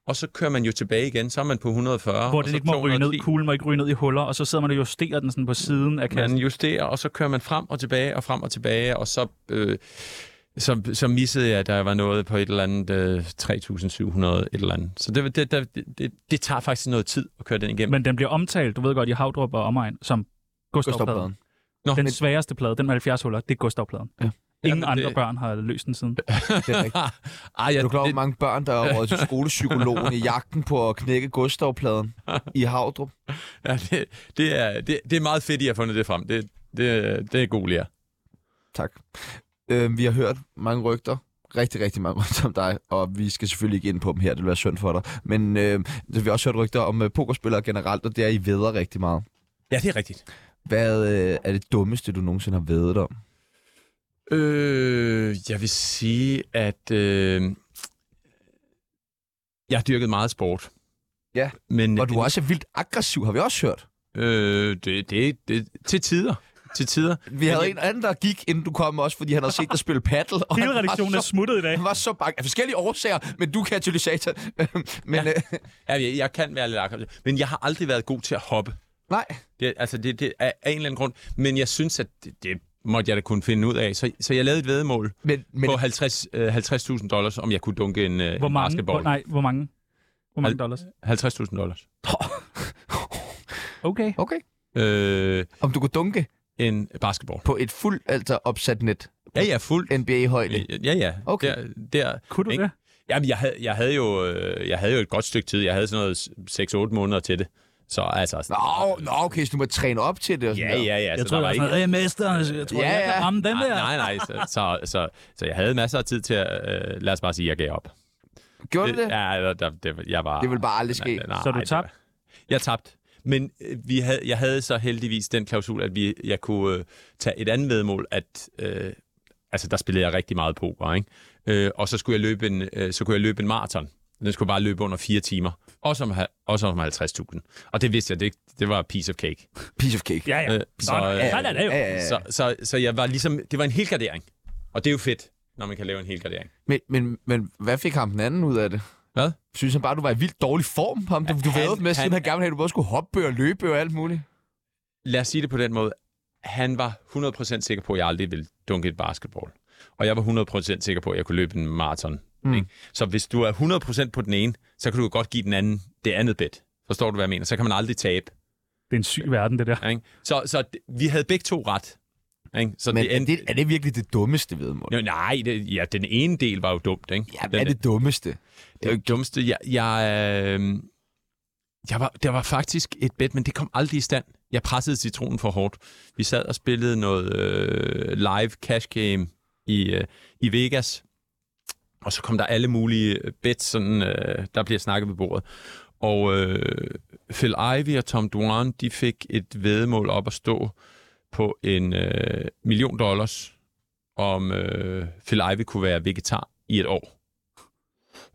[SPEAKER 4] og så kører man jo tilbage igen, så er man på 140.
[SPEAKER 3] Hvor
[SPEAKER 4] og
[SPEAKER 3] den
[SPEAKER 4] så
[SPEAKER 3] ikke må ryge ned,
[SPEAKER 4] 210.
[SPEAKER 3] kuglen må ikke ryge ned i huller, og så sidder man og justerer den sådan på siden af kassen.
[SPEAKER 4] Man justerer, og så kører man frem og tilbage og frem og tilbage, og så, øh, så, så missede jeg, at der var noget på et eller andet øh, 3.700 et eller andet. Så det, det, det, det, det tager faktisk noget tid at køre den igennem.
[SPEAKER 3] Men den bliver omtalt, du ved godt, i Havdrup og omegn, som Gustavpladen.
[SPEAKER 1] Gustavpladen.
[SPEAKER 4] Nå,
[SPEAKER 3] Den sværeste plade, den med 70 huller, det er Gustavpladen. Ja. Ingen
[SPEAKER 4] Jamen,
[SPEAKER 3] andre
[SPEAKER 4] det-
[SPEAKER 3] børn har løst den siden.
[SPEAKER 1] Det er rigtigt.
[SPEAKER 4] Ej,
[SPEAKER 1] Er
[SPEAKER 4] jeg,
[SPEAKER 1] du klar over,
[SPEAKER 4] det,
[SPEAKER 1] hvor mange børn, der er råd til skolepsykologen i jagten på at knække Gustavpladen i Havdrup?
[SPEAKER 4] ja, det, det, er, det, det er meget fedt, I har fundet det frem. Det, det, det er god lære.
[SPEAKER 1] Tak. Øh, vi har hørt mange rygter. Rigtig, rigtig mange rygter om dig, og vi skal selvfølgelig ikke ind på dem her, det vil være synd for dig. Men øh, vi har også hørt rygter om øh, pokerspillere generelt, og det er I veder rigtig meget.
[SPEAKER 4] Ja, det er rigtigt.
[SPEAKER 1] Hvad øh, er det dummeste, du nogensinde har vedet om?
[SPEAKER 4] Øh, jeg vil sige, at øh, jeg har dyrket meget sport.
[SPEAKER 1] Ja,
[SPEAKER 4] men
[SPEAKER 1] Og du er også vildt aggressiv, har vi også hørt.
[SPEAKER 4] Øh, det, det, det, til tider. Til tider.
[SPEAKER 1] Vi havde en anden, der gik, inden du kom også, fordi han havde set dig spille paddle. Og
[SPEAKER 3] Hele
[SPEAKER 1] han var
[SPEAKER 3] redaktionen
[SPEAKER 1] så-
[SPEAKER 3] er smuttet i dag.
[SPEAKER 1] Han var så bange af forskellige årsager, men du er katalysator. men ja. øh,
[SPEAKER 4] Ja, jeg, jeg kan være lidt aggressiv, men jeg har aldrig været god til at hoppe.
[SPEAKER 1] nej,
[SPEAKER 4] Det, altså, det, det er af en eller anden grund. Men jeg synes, at det, det måtte jeg da kunne finde ud af. Så, så jeg lavede et vedmål
[SPEAKER 1] men, men
[SPEAKER 4] men... på 50 øh, 50.000 dollars, om jeg kunne dunke en, øh,
[SPEAKER 3] Hvor
[SPEAKER 4] en
[SPEAKER 3] mange? Hvor,
[SPEAKER 4] basketball.
[SPEAKER 3] nej, hvor mange? Hvor mange
[SPEAKER 4] Al-
[SPEAKER 3] dollars?
[SPEAKER 4] 50.000 dollars.
[SPEAKER 3] Okay.
[SPEAKER 1] okay.
[SPEAKER 4] Øh,
[SPEAKER 1] Om du kunne dunke
[SPEAKER 4] en basketball.
[SPEAKER 1] på et fuldt altså opsat net,
[SPEAKER 4] Ja, ja, fuld.
[SPEAKER 1] NBA-højde.
[SPEAKER 4] Ja, ja.
[SPEAKER 1] Okay.
[SPEAKER 4] Der, der,
[SPEAKER 3] Kunne du
[SPEAKER 4] ikke?
[SPEAKER 3] det?
[SPEAKER 4] Jamen, jeg havde, jeg, havde jo, øh, jeg havde jo et godt stykke tid. Jeg havde sådan noget 6-8 måneder til det. Så altså...
[SPEAKER 1] Nå, nå, okay, så du må træne op til det. Og sådan
[SPEAKER 4] Ja, ja, ja.
[SPEAKER 3] Jeg tror, det var sådan noget, "Hey, mester, jeg tror,
[SPEAKER 1] Ja,
[SPEAKER 3] jeg
[SPEAKER 1] ja.
[SPEAKER 3] kan ramme den der.
[SPEAKER 4] Nej, nej, så, så, så, så jeg havde masser af tid til at... Øh, lad os bare sige, at jeg gav op.
[SPEAKER 1] Der. Gjorde du det? Ja.
[SPEAKER 4] Ja, der, det, jeg var...
[SPEAKER 1] Det ville bare aldrig ske.
[SPEAKER 3] Så du
[SPEAKER 4] det-
[SPEAKER 3] tabte?
[SPEAKER 4] Jeg tabte. Men øh, vi havde, jeg havde så heldigvis den klausul, at vi, jeg kunne øh, tage et andet vedmål, at øh, altså der spillede jeg rigtig meget poker, ikke? Øh, og så skulle jeg løbe en, øh, så kunne jeg løbe en maraton. Den skulle bare løbe under fire timer. Også om, ha- også om 50.000. Og det vidste jeg, det, det var a piece of cake.
[SPEAKER 1] Piece of cake.
[SPEAKER 3] Ja, ja.
[SPEAKER 4] Øh, så,
[SPEAKER 3] Sådan,
[SPEAKER 4] øh,
[SPEAKER 3] sådan er det jo.
[SPEAKER 1] Ja, ja, ja.
[SPEAKER 4] Så, så, så jeg var ligesom, det var en helgardering. Og det er jo fedt, når man kan lave en helgardering.
[SPEAKER 1] Men, men, men hvad fik ham den anden ud af det?
[SPEAKER 4] Hvad?
[SPEAKER 1] Synes han bare, du var i vildt dårlig form? Ham, du, du
[SPEAKER 4] Han-
[SPEAKER 1] ved med, siden
[SPEAKER 4] han-
[SPEAKER 1] han gerne ville have, at du både skulle hoppe og løbe og alt muligt.
[SPEAKER 4] lad os sige det på den måde, han var 100% sikker på, at jeg aldrig ville dunke et basketball. Og jeg var 100% sikker på, at jeg kunne løbe en maraton. Mm. Ikke? Så hvis du er 100% på den ene, så kan du jo godt give den anden det andet bet. Forstår du, hvad jeg mener? Så kan man aldrig tabe.
[SPEAKER 3] Det er en syg verden, det der.
[SPEAKER 4] Ikke? Så, så d- vi havde begge to ret. Ikke? Så
[SPEAKER 1] Men
[SPEAKER 4] det
[SPEAKER 1] er,
[SPEAKER 4] endte...
[SPEAKER 1] det, er det virkelig det dummeste vedmål?
[SPEAKER 4] Nå, Nej, det, ja, den ene del var jo dumt. Ikke?
[SPEAKER 1] Ja,
[SPEAKER 4] den,
[SPEAKER 1] hvad er det dummeste?
[SPEAKER 4] Det er jo dummeste. Jeg, jeg, øh, jeg var, der var faktisk et bet, men det kom aldrig i stand. Jeg pressede citronen for hårdt. Vi sad og spillede noget øh, live cash game i, øh, i Vegas. Og så kom der alle mulige bets, sådan, øh, der bliver snakket ved bordet. Og øh, Phil Ivey og Tom Duran, de fik et vedmål op at stå på en øh, million dollars, om øh, Phil Ivey kunne være vegetar i et år.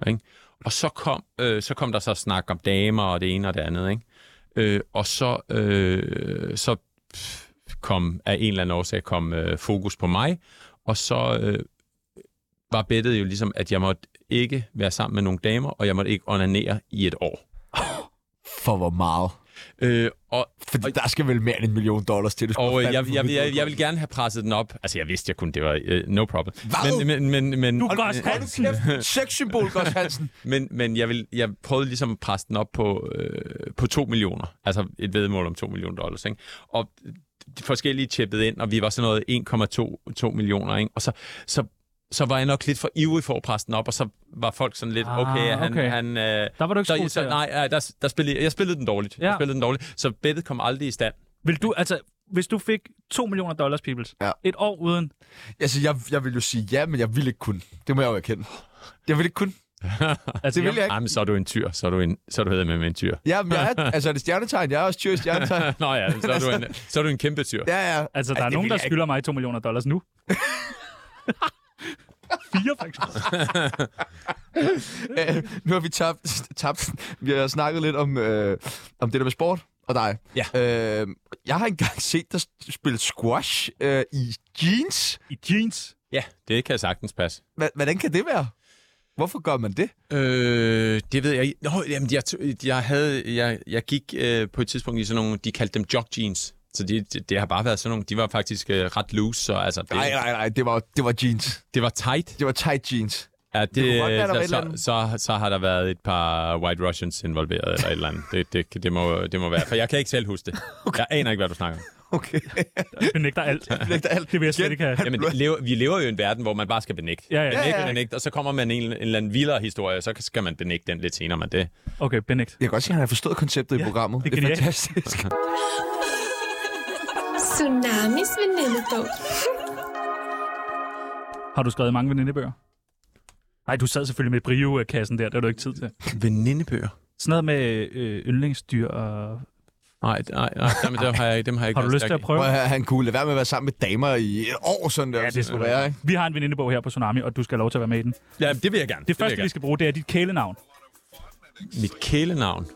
[SPEAKER 4] Ikke? Og så kom, øh, så kom der så snak om damer og det ene og det andet. Ikke? Øh, og så, øh, så kom af en eller anden årsag kom øh, fokus på mig, og så øh, var bettet jo ligesom, at jeg måtte ikke være sammen med nogle damer, og jeg måtte ikke onanere i et år.
[SPEAKER 1] For hvor meget?
[SPEAKER 4] Øh, og
[SPEAKER 1] Fordi der skal vel mere end en million dollars til. Det skulle
[SPEAKER 4] og øh,
[SPEAKER 1] fandme
[SPEAKER 4] jeg, jeg, jeg, jeg
[SPEAKER 1] udgå.
[SPEAKER 4] ville gerne have presset den op. Altså, jeg vidste, jeg kunne. Det var øh, no problem.
[SPEAKER 1] Hvad?
[SPEAKER 4] Men, men, men, men,
[SPEAKER 3] Du går også
[SPEAKER 1] Hold nu kæft. Sexsymbol, Gos Hansen.
[SPEAKER 4] Men, men jeg, vil, jeg prøvede ligesom at presse den op på, øh, på 2 millioner. Altså et vedmål om 2 millioner dollars. Ikke? Og de forskellige chippede ind, og vi var sådan noget 1,2 2 millioner. Ikke? Og så, så, så var jeg nok lidt for ivrig for at presse den op, og så var folk sådan lidt,
[SPEAKER 3] Ah,
[SPEAKER 4] okay, han...
[SPEAKER 3] okay.
[SPEAKER 4] han øh,
[SPEAKER 3] Der var du ikke så
[SPEAKER 4] så,
[SPEAKER 3] god
[SPEAKER 4] så,
[SPEAKER 3] til at-
[SPEAKER 4] nej, nej der, der spillede, jeg spillede den dårligt.
[SPEAKER 3] Ja.
[SPEAKER 4] Jeg spillede den dårligt. Så bettet kom aldrig i stand.
[SPEAKER 3] Vil du, altså, hvis du fik 2 millioner dollars, peoples,
[SPEAKER 1] Ja.
[SPEAKER 3] et år uden,
[SPEAKER 1] Altså, jeg, jeg vil jo sige ja, men jeg vil ikke kun. Det må jeg jo erkende. Jeg vil ikke kun.
[SPEAKER 3] altså,
[SPEAKER 1] Det vil jeg ikke.
[SPEAKER 4] Jamen, så er du en tyr. Så er du, en, så er du hedder med, med en tyr.
[SPEAKER 1] Ja, men jeg er, altså, er det stjernetegn? Jeg er også tyr i stjernetegn.
[SPEAKER 4] Nå ja, så er du en, så er du en kæmpe tyr.
[SPEAKER 1] Ja, ja.
[SPEAKER 3] altså der er
[SPEAKER 1] det
[SPEAKER 3] nogen,
[SPEAKER 1] vil
[SPEAKER 3] der
[SPEAKER 1] jeg ikke.
[SPEAKER 3] skylder mig 2 millioner dollars nu. Fire, faktisk.
[SPEAKER 1] Øh, nu har vi tabt, tabt. Vi har snakket lidt om, øh, om det der med sport og dig.
[SPEAKER 4] Ja.
[SPEAKER 1] Øh, jeg har engang set dig spille squash øh, i jeans.
[SPEAKER 3] I jeans.
[SPEAKER 4] Ja, det kan sagtens passe.
[SPEAKER 1] Hva- Hvordan kan det være? Hvorfor gør man det?
[SPEAKER 4] Øh, det ved jeg ikke. Nå, jamen, jeg, t- jeg, havde, jeg, jeg gik øh, på et tidspunkt i sådan nogle, de kaldte dem jog jeans. Så det, det, det har bare været sådan nogle, de var faktisk øh, ret loose, så altså, det,
[SPEAKER 1] Nej, nej, nej, Øh, det var, det var jeans.
[SPEAKER 4] det var tight.
[SPEAKER 1] Det var tight jeans.
[SPEAKER 4] Ja, det,
[SPEAKER 1] kunne godt være, der var et eller
[SPEAKER 4] så,
[SPEAKER 1] andet.
[SPEAKER 4] så, så, så har der været et par White Russians involveret eller et eller andet. Det, det, det, må, det må være, for jeg kan ikke selv huske det. Okay. Jeg aner ikke, hvad du snakker om.
[SPEAKER 1] Okay.
[SPEAKER 3] Jeg benægter alt.
[SPEAKER 1] Benægter alt.
[SPEAKER 3] Det vil jeg slet ikke have.
[SPEAKER 4] Jamen, det lever, vi lever jo i en verden, hvor man bare skal benægte.
[SPEAKER 3] Ja, ja.
[SPEAKER 4] benægte,
[SPEAKER 1] Ja, ja.
[SPEAKER 4] benægte, og så kommer man en, en eller anden vildere historie, og så skal man benægte den lidt senere, men det...
[SPEAKER 3] Okay, benægt.
[SPEAKER 1] Jeg kan godt se, at han har forstået konceptet ja, i programmet.
[SPEAKER 3] det er
[SPEAKER 1] det er
[SPEAKER 3] genialt.
[SPEAKER 1] fantastisk.
[SPEAKER 8] Tsunamis venindebog.
[SPEAKER 3] Har du skrevet mange venindebøger? Nej, du sad selvfølgelig med brio-kassen der, det har du ikke tid til.
[SPEAKER 4] Venindebøger?
[SPEAKER 3] Sådan noget med øh, yndlingsdyr og...
[SPEAKER 4] Nej, nej, nej, nej men dem har jeg, ikke- dem har jeg ikke
[SPEAKER 3] Har du lyst til at prøve?
[SPEAKER 1] Prøv at høre, han kunne lade være med at være sammen med damer i et år, sådan der.
[SPEAKER 3] Ja, det skulle
[SPEAKER 1] skulle være, ikke?
[SPEAKER 3] Vi har en venindebog her på Tsunami, og du skal have lov til at være med i den.
[SPEAKER 4] Ja, det vil jeg gerne. vil
[SPEAKER 3] Det
[SPEAKER 4] jeg
[SPEAKER 3] første, vi
[SPEAKER 4] gerne.
[SPEAKER 3] skal bruge, det er dit kælenavn.
[SPEAKER 4] Mit kælenavn.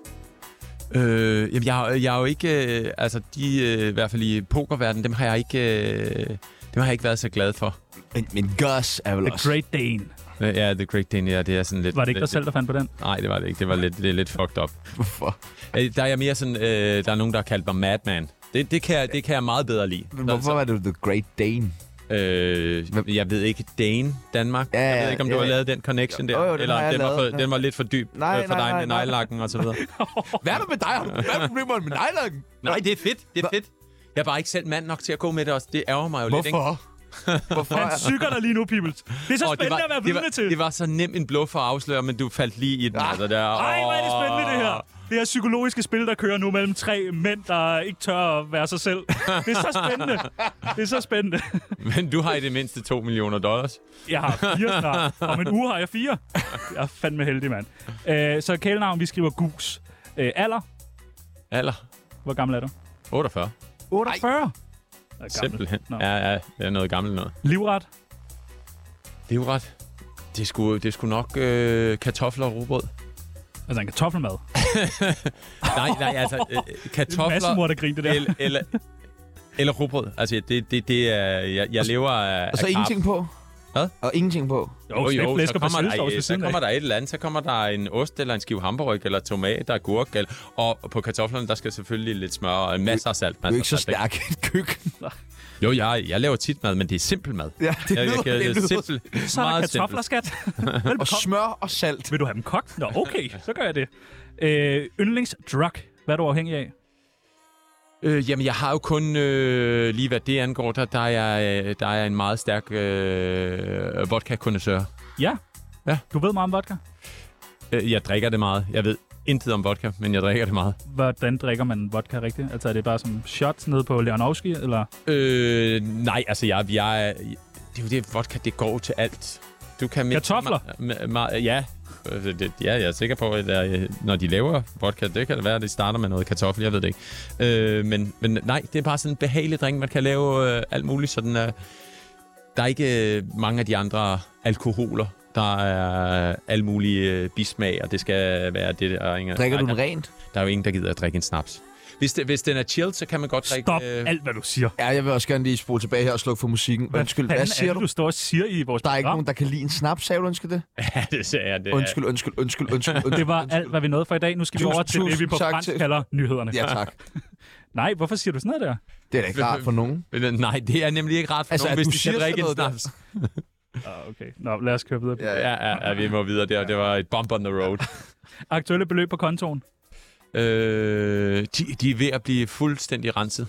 [SPEAKER 4] Øh, jamen, jeg, har- jeg har jo ikke... Øh, altså, de, øh, i hvert fald i pokerverdenen, dem har jeg ikke... Øh, dem har jeg ikke været så glad for.
[SPEAKER 1] Men, men Gus er vel
[SPEAKER 3] The
[SPEAKER 1] også...
[SPEAKER 3] Great Dane.
[SPEAKER 4] Øh, Ja, The Great Dane, ja, det er sådan lidt...
[SPEAKER 3] Var det ikke dig
[SPEAKER 4] lidt,
[SPEAKER 3] selv, der fandt på den?
[SPEAKER 4] Nej, det var det ikke. Det var lidt, det er lidt fucked up.
[SPEAKER 1] Hvorfor?
[SPEAKER 4] Øh, Der er jeg mere sådan... Øh, der er nogen, der har kaldt mig Madman. Det, det, kan jeg, det kan jeg meget bedre lide.
[SPEAKER 1] Men hvorfor var det The Great Dane?
[SPEAKER 4] Øh, jeg ved ikke, Dane, Danmark.
[SPEAKER 1] Ja,
[SPEAKER 4] jeg ved ikke, om du
[SPEAKER 1] ja,
[SPEAKER 4] har
[SPEAKER 1] ja.
[SPEAKER 4] lavet den connection der.
[SPEAKER 1] Jo, jo, den har
[SPEAKER 4] eller
[SPEAKER 1] jeg
[SPEAKER 4] den var,
[SPEAKER 1] lavet.
[SPEAKER 4] for, den var lidt for dyb
[SPEAKER 1] Nej,
[SPEAKER 4] øh, for
[SPEAKER 1] nej,
[SPEAKER 4] dig
[SPEAKER 1] nej,
[SPEAKER 4] med
[SPEAKER 1] nej.
[SPEAKER 4] nejlakken og så videre.
[SPEAKER 1] Hvad er der med dig? Har du- Hvad er problemerne med nejlakken?
[SPEAKER 4] Nej, det er fedt. Det er fedt. Jeg er bare ikke selv mand nok til at gå med det også. Det ærger mig jo lidt, ikke?
[SPEAKER 1] Hvorfor? Hvorfor?
[SPEAKER 3] Han sykker dig lige nu, Pibels. Det er så
[SPEAKER 4] Åh,
[SPEAKER 3] spændende at være
[SPEAKER 4] det, var,
[SPEAKER 3] vidne til.
[SPEAKER 4] det var så nem en bluff at afsløre, men du faldt lige i den.
[SPEAKER 1] Ah.
[SPEAKER 4] Altså, der.
[SPEAKER 3] Ej, hvor er det
[SPEAKER 4] Åh.
[SPEAKER 3] spændende, det her. Det her psykologiske spil, der kører nu mellem tre mænd, der ikke tør at være sig selv. Det er så spændende. Det er så spændende.
[SPEAKER 4] Men du har i det mindste 2 millioner dollars.
[SPEAKER 3] Jeg har fire snart. Om en uge har jeg fire. Jeg er fandme heldig, mand. Øh, så kælenavn, vi skriver gus. Øh, alder?
[SPEAKER 4] Alder?
[SPEAKER 3] Hvor gammel er du?
[SPEAKER 4] 48.
[SPEAKER 3] 48. Ej, gammel.
[SPEAKER 4] Simpelthen.
[SPEAKER 3] Nå.
[SPEAKER 4] Ja, ja, det er noget gammelt noget.
[SPEAKER 3] Livret?
[SPEAKER 4] Det er jo ret. Det er sgu, det er sgu nok øh, kartofler og rugbrød.
[SPEAKER 3] Altså en kartoffelmad.
[SPEAKER 4] Nej, nej, altså øh,
[SPEAKER 3] Det er en masse
[SPEAKER 4] kartofler
[SPEAKER 3] mor, der griner det der.
[SPEAKER 4] eller, eller, eller rugbrød. Altså, det, det, det er... Jeg, jeg lever af
[SPEAKER 1] Og så
[SPEAKER 4] af karp.
[SPEAKER 1] ingenting på?
[SPEAKER 4] Hvad?
[SPEAKER 1] Og ingenting på?
[SPEAKER 3] Jo, jo, jo,
[SPEAKER 4] så kommer, der,
[SPEAKER 3] ved
[SPEAKER 4] øh, så
[SPEAKER 3] siden af.
[SPEAKER 4] kommer der et eller andet. Så kommer der en ost, eller en skive hamburg, eller tomat, der er gurk. Eller, og på kartoflerne, der skal selvfølgelig lidt smør og masser af salt.
[SPEAKER 1] Du er
[SPEAKER 4] Masser
[SPEAKER 1] ikke så
[SPEAKER 4] af salt, ikke?
[SPEAKER 1] stærk i et køkken.
[SPEAKER 4] Jo, jeg, jeg laver tit mad, men det er simpel mad.
[SPEAKER 1] Ja, det
[SPEAKER 4] jeg,
[SPEAKER 1] lyder,
[SPEAKER 4] jeg,
[SPEAKER 1] det
[SPEAKER 4] jeg,
[SPEAKER 1] lyder.
[SPEAKER 4] simpel,
[SPEAKER 3] Så er der
[SPEAKER 4] meget
[SPEAKER 3] kartofler,
[SPEAKER 4] simpelt.
[SPEAKER 3] skat.
[SPEAKER 1] Og smør og salt.
[SPEAKER 3] Vil du have dem kogt? Nå, okay, så gør jeg det. Øh, yndlingsdrug. Hvad er du afhængig af?
[SPEAKER 4] Øh, jamen, jeg har jo kun, øh, lige hvad det angår, der, der, er, jeg, øh, der er jeg en meget stærk øh, vodka-kondensør.
[SPEAKER 3] Ja.
[SPEAKER 4] Ja.
[SPEAKER 3] Du ved meget om vodka.
[SPEAKER 4] Øh, jeg drikker det meget. Jeg ved intet om vodka, men jeg drikker det meget.
[SPEAKER 3] Hvordan drikker man vodka rigtigt? Altså er det bare som shots nede på Leonovski, eller?
[SPEAKER 4] Øh, nej, altså jeg, jeg, er- det er jo det, vodka, det går til alt. Du kan mixe
[SPEAKER 3] Kartofler?
[SPEAKER 4] Ma- ma- ma- ja. Øh, det- Ja, jeg er sikker på, at øh, når de laver vodka, det kan det være, at de starter med noget kartoffel, jeg ved det ikke. Øh, men, men nej, det er bare sådan en behagelig drink, man kan lave øh, alt muligt. Sådan, øh, der er ikke øh, mange af de andre alkoholer, der er alle mulige øh, bismag, og det skal være det der. Ingen,
[SPEAKER 1] Drikker du
[SPEAKER 4] der,
[SPEAKER 1] den rent?
[SPEAKER 4] der er jo ingen, der gider at drikke en snaps. Hvis, det, hvis den er chill, så kan man godt drikke... øh,
[SPEAKER 3] Stop
[SPEAKER 1] øh,
[SPEAKER 3] alt, hvad du siger.
[SPEAKER 1] Ja, jeg vil også gerne lige spole tilbage her og slukke for musikken. Undskyld,
[SPEAKER 3] fanden
[SPEAKER 1] hvad siger
[SPEAKER 3] er det,
[SPEAKER 1] du?
[SPEAKER 3] du står og siger i vores
[SPEAKER 1] Der er ikke
[SPEAKER 3] program?
[SPEAKER 1] nogen, der kan lide en snap, sagde du, undskyld det?
[SPEAKER 4] Ja, det sagde jeg. Det er-
[SPEAKER 1] Undskyld, undskyld, undskyld, undskyld, undskyld.
[SPEAKER 3] Det var alt, hvad vi nåede for i dag. Nu skal vi
[SPEAKER 1] Tusind-
[SPEAKER 3] over til det, vi
[SPEAKER 1] tusind
[SPEAKER 3] på
[SPEAKER 1] tak
[SPEAKER 3] fransk
[SPEAKER 1] til-
[SPEAKER 3] kalder nyhederne.
[SPEAKER 1] Ja, tak.
[SPEAKER 3] Nej, hvorfor siger du sådan noget der?
[SPEAKER 1] Det er da ikke rart for nogen.
[SPEAKER 4] Men, øh, Nej, det er nemlig ikke rart for
[SPEAKER 1] Altså,
[SPEAKER 4] nogen,
[SPEAKER 1] at
[SPEAKER 4] hvis
[SPEAKER 1] du
[SPEAKER 4] de skal
[SPEAKER 1] siger
[SPEAKER 4] drikke en
[SPEAKER 1] sådan noget
[SPEAKER 4] snaps.
[SPEAKER 3] Ah, okay. Nå, lad os køre videre. Ja.
[SPEAKER 1] Ja,
[SPEAKER 4] Ja, ja, ja, vi må videre der. Det var et bump on the road.
[SPEAKER 3] Aktuelle beløb på kontoen.
[SPEAKER 4] øh, de, de er ved at blive fuldstændig renset.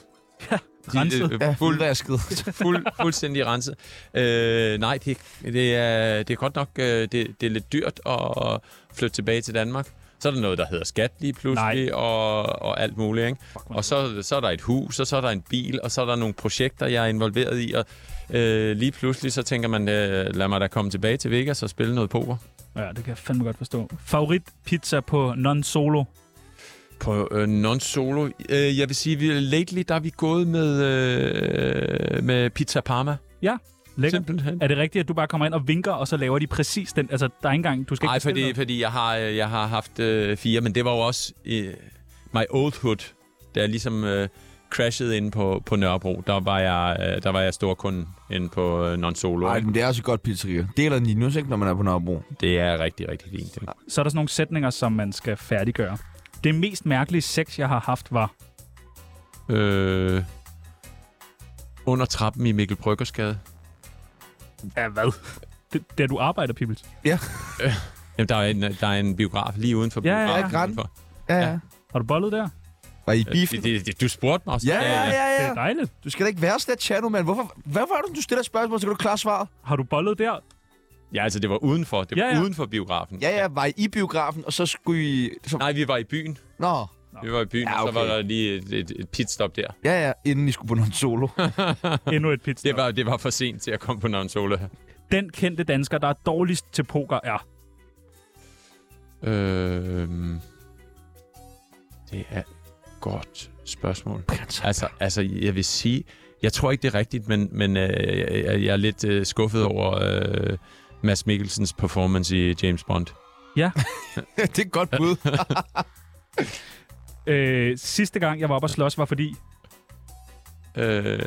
[SPEAKER 4] Ja,
[SPEAKER 3] renset.
[SPEAKER 4] De,
[SPEAKER 1] Ja,
[SPEAKER 4] øh, fuld,
[SPEAKER 1] fuldvasket.
[SPEAKER 4] fuld, fuldstændig renset. Øh, nej, det, det, er, det er godt nok øh, det, det er lidt dyrt at flytte tilbage til Danmark. Så er der noget, der hedder skat lige pludselig, og, og alt muligt. Ikke? Og så, så er der et hus, og så er der en bil, og så er der nogle projekter, jeg er involveret i. Og øh, lige pludselig, så tænker man, øh, lad mig da komme tilbage til Vegas og spille noget poker.
[SPEAKER 3] Ja, det kan jeg fandme godt forstå. Favorit pizza på non-solo.
[SPEAKER 4] På øh, non-solo? Øh, jeg vil sige, vi, lately der er vi gået med, øh, med Pizza Parma.
[SPEAKER 3] Lækker.
[SPEAKER 4] Simpelthen.
[SPEAKER 3] Er det rigtigt, at du bare kommer ind og vinker, og så laver de præcis den? Altså, der er ikke engang, du skal
[SPEAKER 4] Nej,
[SPEAKER 3] ikke bestille
[SPEAKER 4] fordi,
[SPEAKER 3] noget.
[SPEAKER 4] fordi jeg, har, øh, jeg har haft øh, fire, men det var jo også øh, my old hood, da jeg ligesom øh, crashede inde på, på Nørrebro. Der var jeg, øh, der var jeg storkunde inde på øh, Non Solo.
[SPEAKER 1] Ej, men det er også et godt pizzeria. Det er der Ninus, ikke, når man er på Nørrebro.
[SPEAKER 4] Det er rigtig, rigtig fint. Ikke?
[SPEAKER 3] Så er der sådan nogle sætninger, som man skal færdiggøre. Det mest mærkelige sex, jeg har haft, var...
[SPEAKER 4] Øh, under trappen i Mikkel Bryggersgade.
[SPEAKER 3] Ja, hvad? Det, det er, du arbejder, Pibels.
[SPEAKER 4] Jamen, der er, en, der er en biograf lige udenfor.
[SPEAKER 3] Ja, ja, ja.
[SPEAKER 4] biografen
[SPEAKER 1] Ja, Grand.
[SPEAKER 4] udenfor.
[SPEAKER 1] Ja,
[SPEAKER 4] Ja.
[SPEAKER 1] ja.
[SPEAKER 3] Har du bollet der?
[SPEAKER 1] Var I
[SPEAKER 4] Øh,
[SPEAKER 1] biffen?
[SPEAKER 4] Det, det, det, du spurgte mig også.
[SPEAKER 1] Ja, ja, ja,
[SPEAKER 3] Det
[SPEAKER 1] ja.
[SPEAKER 3] er dejligt.
[SPEAKER 1] Du skal da ikke være sådan et chat, mand. Hvorfor, hvad var det, du stiller spørgsmål, så kan du klare svaret?
[SPEAKER 3] Har du bollet der?
[SPEAKER 4] Ja, altså, det var udenfor. Det var
[SPEAKER 3] Ja, ja.
[SPEAKER 4] uden for biografen.
[SPEAKER 1] Ja, ja, var I i biografen, og så skulle I... Så...
[SPEAKER 4] Nej, vi var i byen.
[SPEAKER 1] Nå,
[SPEAKER 4] Vi var i byen,
[SPEAKER 1] Ja,
[SPEAKER 4] ja, okay. og så var
[SPEAKER 1] okay.
[SPEAKER 4] der lige et, et, et pitstop der.
[SPEAKER 1] ja, ja, inden I skulle på noget solo.
[SPEAKER 3] Endnu et pitstop.
[SPEAKER 4] Det var, det var for sent til at komme på Non Solo.
[SPEAKER 3] Den kendte dansker, der er dårligst til poker, er...
[SPEAKER 4] Øh, det er et godt spørgsmål. Altså, altså, jeg vil sige, jeg tror ikke, det er rigtigt, men, men øh, jeg, jeg er lidt øh, skuffet over øh, Mads Mikkelsens performance i James Bond.
[SPEAKER 1] det er et godt bud.
[SPEAKER 3] Øh, sidste gang, jeg var oppe og slås, var fordi...
[SPEAKER 4] Øh,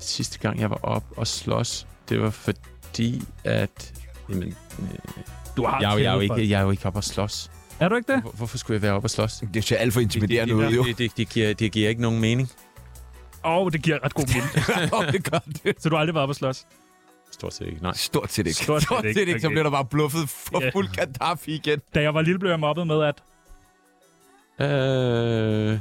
[SPEAKER 4] sidste gang, jeg var op og slås, det var fordi, at... Jamen, øh,
[SPEAKER 3] Du har
[SPEAKER 4] jeg, er jo- jeg, er jo
[SPEAKER 3] tævet folk.
[SPEAKER 4] ikke, jeg er jo ikke op og slås.
[SPEAKER 3] Er du ikke det?
[SPEAKER 4] Hvor, hvorfor skulle jeg være op og slås? Det,
[SPEAKER 1] Det ser alt for
[SPEAKER 4] det,
[SPEAKER 1] intimiderende ud, jo.
[SPEAKER 4] det, det, det, det, giver, det giver ikke nogen mening,
[SPEAKER 3] Åh, oh, det giver ret god mening.
[SPEAKER 1] Åh, det gør det.
[SPEAKER 3] Så du har aldrig været oppe at slås?
[SPEAKER 4] stort set ikke. Nej.
[SPEAKER 1] Stort set ikke.
[SPEAKER 3] Stort set ikke,
[SPEAKER 1] Så
[SPEAKER 3] okay.
[SPEAKER 1] bliver der bare bluffet for
[SPEAKER 3] Ja.
[SPEAKER 1] fuld Gaddafi igen.
[SPEAKER 3] Da jeg var lille, blev jeg mobbet med, at...
[SPEAKER 4] Øh,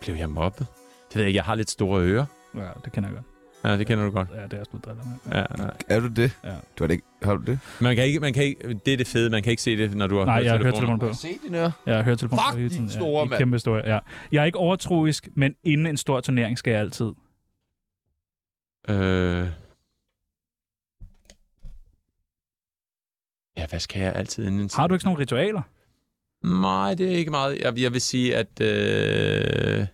[SPEAKER 4] blev jeg mobbet? Det ved jeg ikke. Jeg har lidt store ører.
[SPEAKER 3] Ja, det kender jeg godt.
[SPEAKER 4] Ja, det kender du godt.
[SPEAKER 3] Ja, det er jeg sgu drillet med.
[SPEAKER 4] Ja, ja.
[SPEAKER 1] Er du det?
[SPEAKER 3] Ja.
[SPEAKER 1] Du har det ikke. Har du det?
[SPEAKER 4] Man kan ikke, man kan ikke, det er det fede. Man kan ikke se det, når du har
[SPEAKER 3] Nej, jeg har hørt
[SPEAKER 4] høretelefoner.
[SPEAKER 3] telefonen på.
[SPEAKER 1] Se din øre.
[SPEAKER 3] Jeg har hørt telefonen
[SPEAKER 1] Fuck,
[SPEAKER 3] på hele
[SPEAKER 1] de
[SPEAKER 3] tiden.
[SPEAKER 1] er store,
[SPEAKER 3] ja, de er
[SPEAKER 1] mand.
[SPEAKER 3] kæmpe store, ja. Jeg er ikke overtroisk, men inden en stor turnering skal jeg altid.
[SPEAKER 4] Øh, ja, hvad skal jeg altid inden en
[SPEAKER 3] Har du ikke sådan nogle ritualer?
[SPEAKER 4] Nej, det er ikke meget. Jeg, jeg vil sige, at... Øh,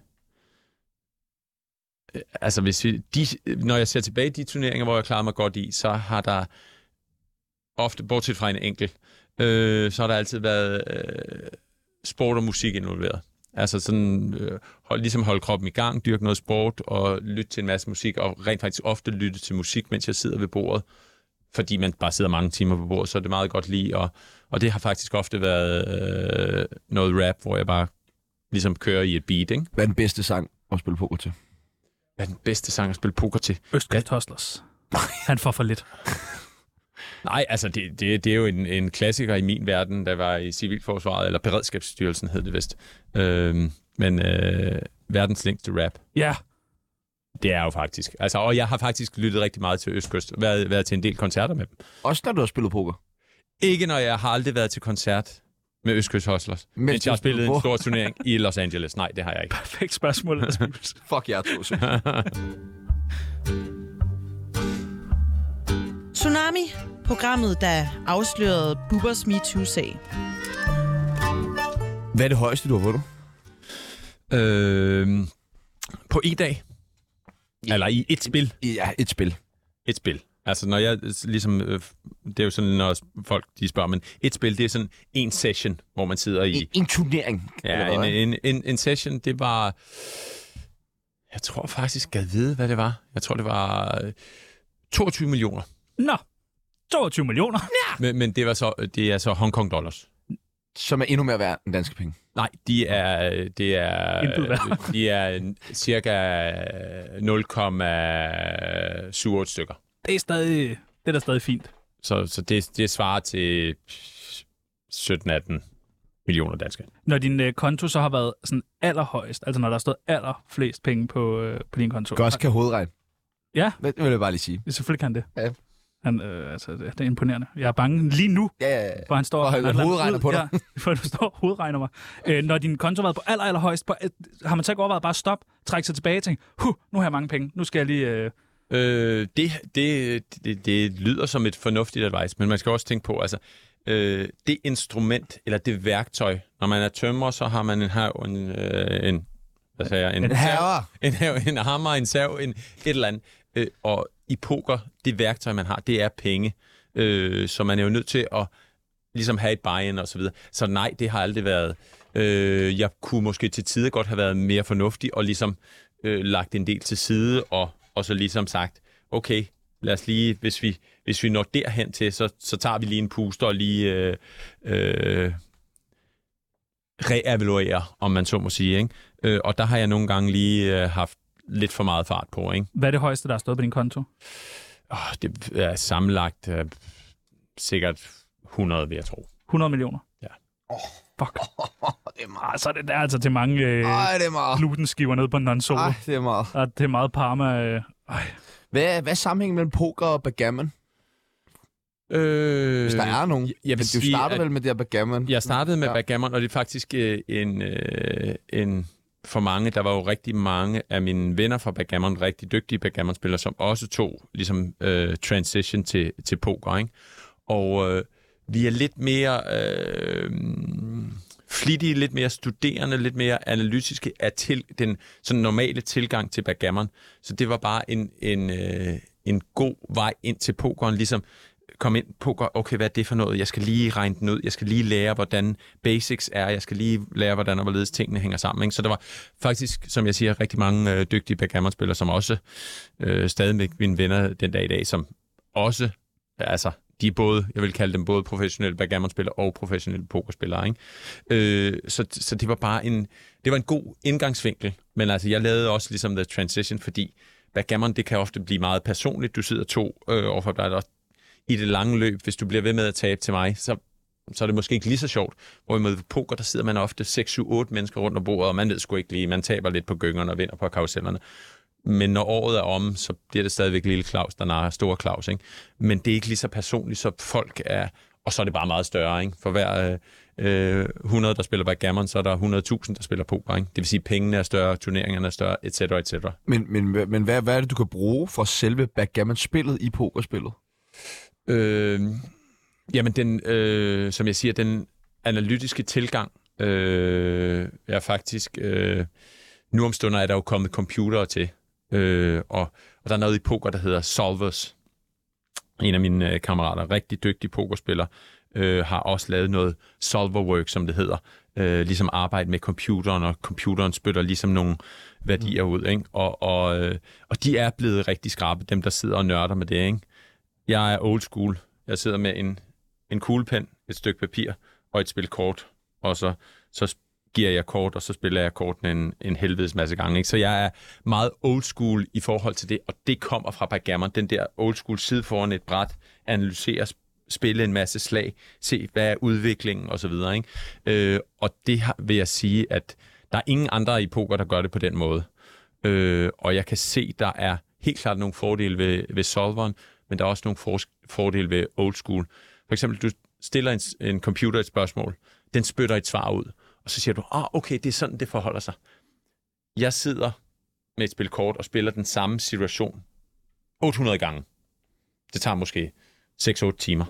[SPEAKER 4] øh, altså, hvis vi, de, når jeg ser tilbage i de turneringer, hvor jeg klarer mig godt i, så har der ofte, bortset fra en enkelt, øh, så har der altid været øh, sport og musik involveret. Altså sådan, øh, hold, ligesom holde kroppen i gang, dyrke noget sport og lytte til en masse musik, og rent faktisk ofte lytte til musik, mens jeg sidder ved bordet. Fordi man bare sidder mange timer på bordet, så er det meget godt lige at og det har faktisk ofte været øh, noget rap, hvor jeg bare ligesom kører i et beat, ikke?
[SPEAKER 1] Hvad er den bedste sang at spille poker til?
[SPEAKER 4] Hvad er den bedste sang at spille poker til?
[SPEAKER 3] Østkyst Hustlers. Han får for lidt.
[SPEAKER 4] Nej, altså det, det, det er jo en, en klassiker i min verden, der var i Civilforsvaret, eller Beredskabsstyrelsen hed det vist. Øhm, men øh, verdens længste rap,
[SPEAKER 3] Ja,
[SPEAKER 4] det er jo faktisk. Altså, og jeg har faktisk lyttet rigtig meget til Østkyst, været, været til en del koncerter med dem.
[SPEAKER 1] Også når du har spillet poker.
[SPEAKER 4] Ikke når jeg har aldrig været til koncert med Østkyst Hustlers,
[SPEAKER 1] Men
[SPEAKER 4] men mens jeg
[SPEAKER 1] du
[SPEAKER 4] har spillet
[SPEAKER 1] spillede
[SPEAKER 4] en
[SPEAKER 1] hvor?
[SPEAKER 4] stor turnering i Los Angeles. Nej, det har jeg ikke.
[SPEAKER 3] perfekt spørgsmål. Ellers.
[SPEAKER 1] Fuck jer to, så.
[SPEAKER 9] Tsunami, programmet, der afslørede Bubbers MeToo-sag.
[SPEAKER 1] Hvad er det højeste, du har vundet?
[SPEAKER 4] Øhm, på en dag. Eller i et spil.
[SPEAKER 1] Ja, et spil.
[SPEAKER 4] Et spil. Altså når jeg øh, ligesom, øh, det er jo sådan, når folk de spørger, men et spil, det er sådan en session, hvor man sidder i.
[SPEAKER 1] En, en turnering.
[SPEAKER 4] Ja,
[SPEAKER 1] eller
[SPEAKER 4] en,
[SPEAKER 1] hvad?
[SPEAKER 4] en, en, en session, det var, jeg tror faktisk, jeg ved, hvad det var. Jeg tror, det var øh, 22 millioner.
[SPEAKER 3] Nå, 22 millioner.
[SPEAKER 4] Men, men det, var så, det er så Hong Kong dollars.
[SPEAKER 1] Som er endnu mere værd end danske penge.
[SPEAKER 4] Nej, de er, det er,
[SPEAKER 3] Intet værd.
[SPEAKER 4] de er cirka 0,78 stykker.
[SPEAKER 3] Det er stadig, det er da stadig fint.
[SPEAKER 4] Så, så det, det svarer til 17-18 millioner danske.
[SPEAKER 3] Når din øh, konto så har været sådan allerhøjst, altså når der har stået allerflest penge på, øh, på din konto.
[SPEAKER 1] Godt kan hovedregne.
[SPEAKER 3] Ja.
[SPEAKER 1] Det vil jeg bare lige sige.
[SPEAKER 3] Ja, Selvfølgelig kan han det.
[SPEAKER 1] Ja.
[SPEAKER 3] Han, øh, altså, det det er imponerende. Jeg er bange lige nu,
[SPEAKER 1] Ja, ja, ja.
[SPEAKER 3] for han står
[SPEAKER 1] Og han
[SPEAKER 3] et eller andet
[SPEAKER 1] hovedregner
[SPEAKER 3] ud-
[SPEAKER 1] på dig.
[SPEAKER 3] Ja, for du står og hovedregner mig. Øh, når din konto har været på aller, allerhøjst, på, øh, har man så ikke overvejet bare at stoppe, trække sig tilbage og tænke, huh, nu har jeg mange penge, nu skal jeg lige... Øh,
[SPEAKER 4] Øh, det, det, det, det lyder som et fornuftigt advice, men man skal også tænke på, altså, øh, det instrument, eller det værktøj, når man er tømrer, så har man en hav, en, øh, en hvad sagde jeg? En,
[SPEAKER 1] En herre.
[SPEAKER 4] En, hav, en hammer, en sav, en, et eller andet. Øh, og i poker, det værktøj, man har, det er penge. Øh, så man er jo nødt til at ligesom have et buy-in og så videre. Så nej, det har aldrig været. Øh, jeg kunne måske til tider godt have været mere fornuftig og ligesom øh, lagt en del til side, og, og så ligesom sagt, okay, lad os lige, hvis vi, hvis vi når derhen til, så, så tager vi lige en puster og lige øh, øh, reevaluerer, om man så må sige. Ikke? Øh, og der har jeg nogle gange lige øh, haft lidt for meget fart på. Ikke?
[SPEAKER 3] Hvad er det højeste, der har stået på din konto?
[SPEAKER 4] Oh, det er sammenlagt øh, sikkert 100, vil jeg tro.
[SPEAKER 3] 100 millioner?
[SPEAKER 4] Ja.
[SPEAKER 3] Fuck. det er meget. Så er det der altså til mange øh,
[SPEAKER 1] Ej, det er meget.
[SPEAKER 3] glutenskiver nede på Nonso.
[SPEAKER 1] Ej, det er meget.
[SPEAKER 3] Og det er meget parma. Øh. Ej,
[SPEAKER 1] Hvad, hvad er sammenhængen mellem poker og backgammon?
[SPEAKER 4] Øh,
[SPEAKER 1] Hvis der er nogen.
[SPEAKER 4] jeg vil
[SPEAKER 1] Men du
[SPEAKER 4] sige,
[SPEAKER 1] starter
[SPEAKER 4] at-
[SPEAKER 1] vel med det her backgammon?
[SPEAKER 4] Jeg startede med
[SPEAKER 1] Ja.
[SPEAKER 4] ja. backgammon, og det er faktisk øh, en, øh, en for mange, der var jo rigtig mange af mine venner fra backgammon, rigtig dygtige backgammonspillere, som også tog ligesom øh, transition til, til poker, ikke? Og øh, vi er lidt mere øh, flittige, lidt mere studerende, lidt mere analytiske af til, den sådan normale tilgang til backgammon. Så det var bare en, en, øh, en god vej ind til pokeren, ligesom kom ind på, gør- okay, hvad er det for noget? Jeg skal lige regne den ud. Jeg skal lige lære, hvordan basics er. Jeg skal lige lære, hvordan og hvorledes tingene hænger sammen. Ikke? Så der var faktisk, som jeg siger, rigtig mange øh, dygtige backgammon-spillere, som også øh, stadigvæk mine venner den dag i dag, som også, altså, de er både, jeg vil kalde dem både professionelle backgammon-spillere og professionelle pokerspillere. Ikke? Øh, så, så det var bare en, det var en god indgangsvinkel. Men altså, jeg lavede også ligesom the transition, fordi backgammon, det kan ofte blive meget personligt. Du sidder to øh, overfor dig, og i det lange løb, hvis du bliver ved med at tabe til mig, så, så er det måske ikke lige så sjovt. Hvorimod ved poker, der sidder man ofte 6, 7, 8 mennesker rundt om bordet, og man ved sgu ikke lige, man taber lidt på gyngerne og vinder på karusellerne. Men når året er omme, så bliver det stadigvæk lille Claus, der narer store Claus. Ikke? Men det er ikke lige så personligt, så folk er... Og så er det bare meget større. Ikke? For hver øh, øh, 100, der spiller backgammon, så er der 100.000, der spiller poker. Ikke? Det vil sige, at pengene er større, turneringerne er større, etc. etc.
[SPEAKER 1] Men, men, hva- men hvad, hvad er det, du kan bruge for selve backgammon-spillet i pokerspillet?
[SPEAKER 4] Øh, jamen, den, øh, som jeg siger, den analytiske tilgang øh, er faktisk... Øh, nu om stunder er der jo kommet computere til, øh, og, og der er noget i poker, der hedder Solvers. En af mine øh, kammerater, rigtig dygtig pokerspiller, øh, har også lavet noget solverwork, som det hedder. Øh, ligesom arbejde med computeren, og computeren spytter ligesom nogle værdier ud. Ikke? Og, og, øh, og de er blevet rigtig skrappe, dem der sidder og nørder med det. Ikke? Jeg er old school. Jeg sidder med en, en kuglepen, et stykke papir og et spil kort. Og så, så giver jeg kort, og så spiller jeg kortene en, en helvedes masse gange. Ikke? Så jeg er meget old school i forhold til det, og det kommer fra backgammon. Den der old school side foran et bræt, analysere, sp- spille en masse slag, se hvad er udviklingen osv. Ikke? Øh, og det har, vil jeg sige, at der er ingen andre i poker, der gør det på den måde. Øh, og jeg kan se, der er helt klart nogle fordele ved, ved solveren, men der er også nogle for, fordele ved old school. For eksempel, du stiller en, s- en computer et spørgsmål, den spytter et svar ud, og så siger du, ah, okay, det er sådan, det forholder sig. Jeg sidder med et spil kort og spiller den samme situation 800 gange. Det tager måske 6-8 timer.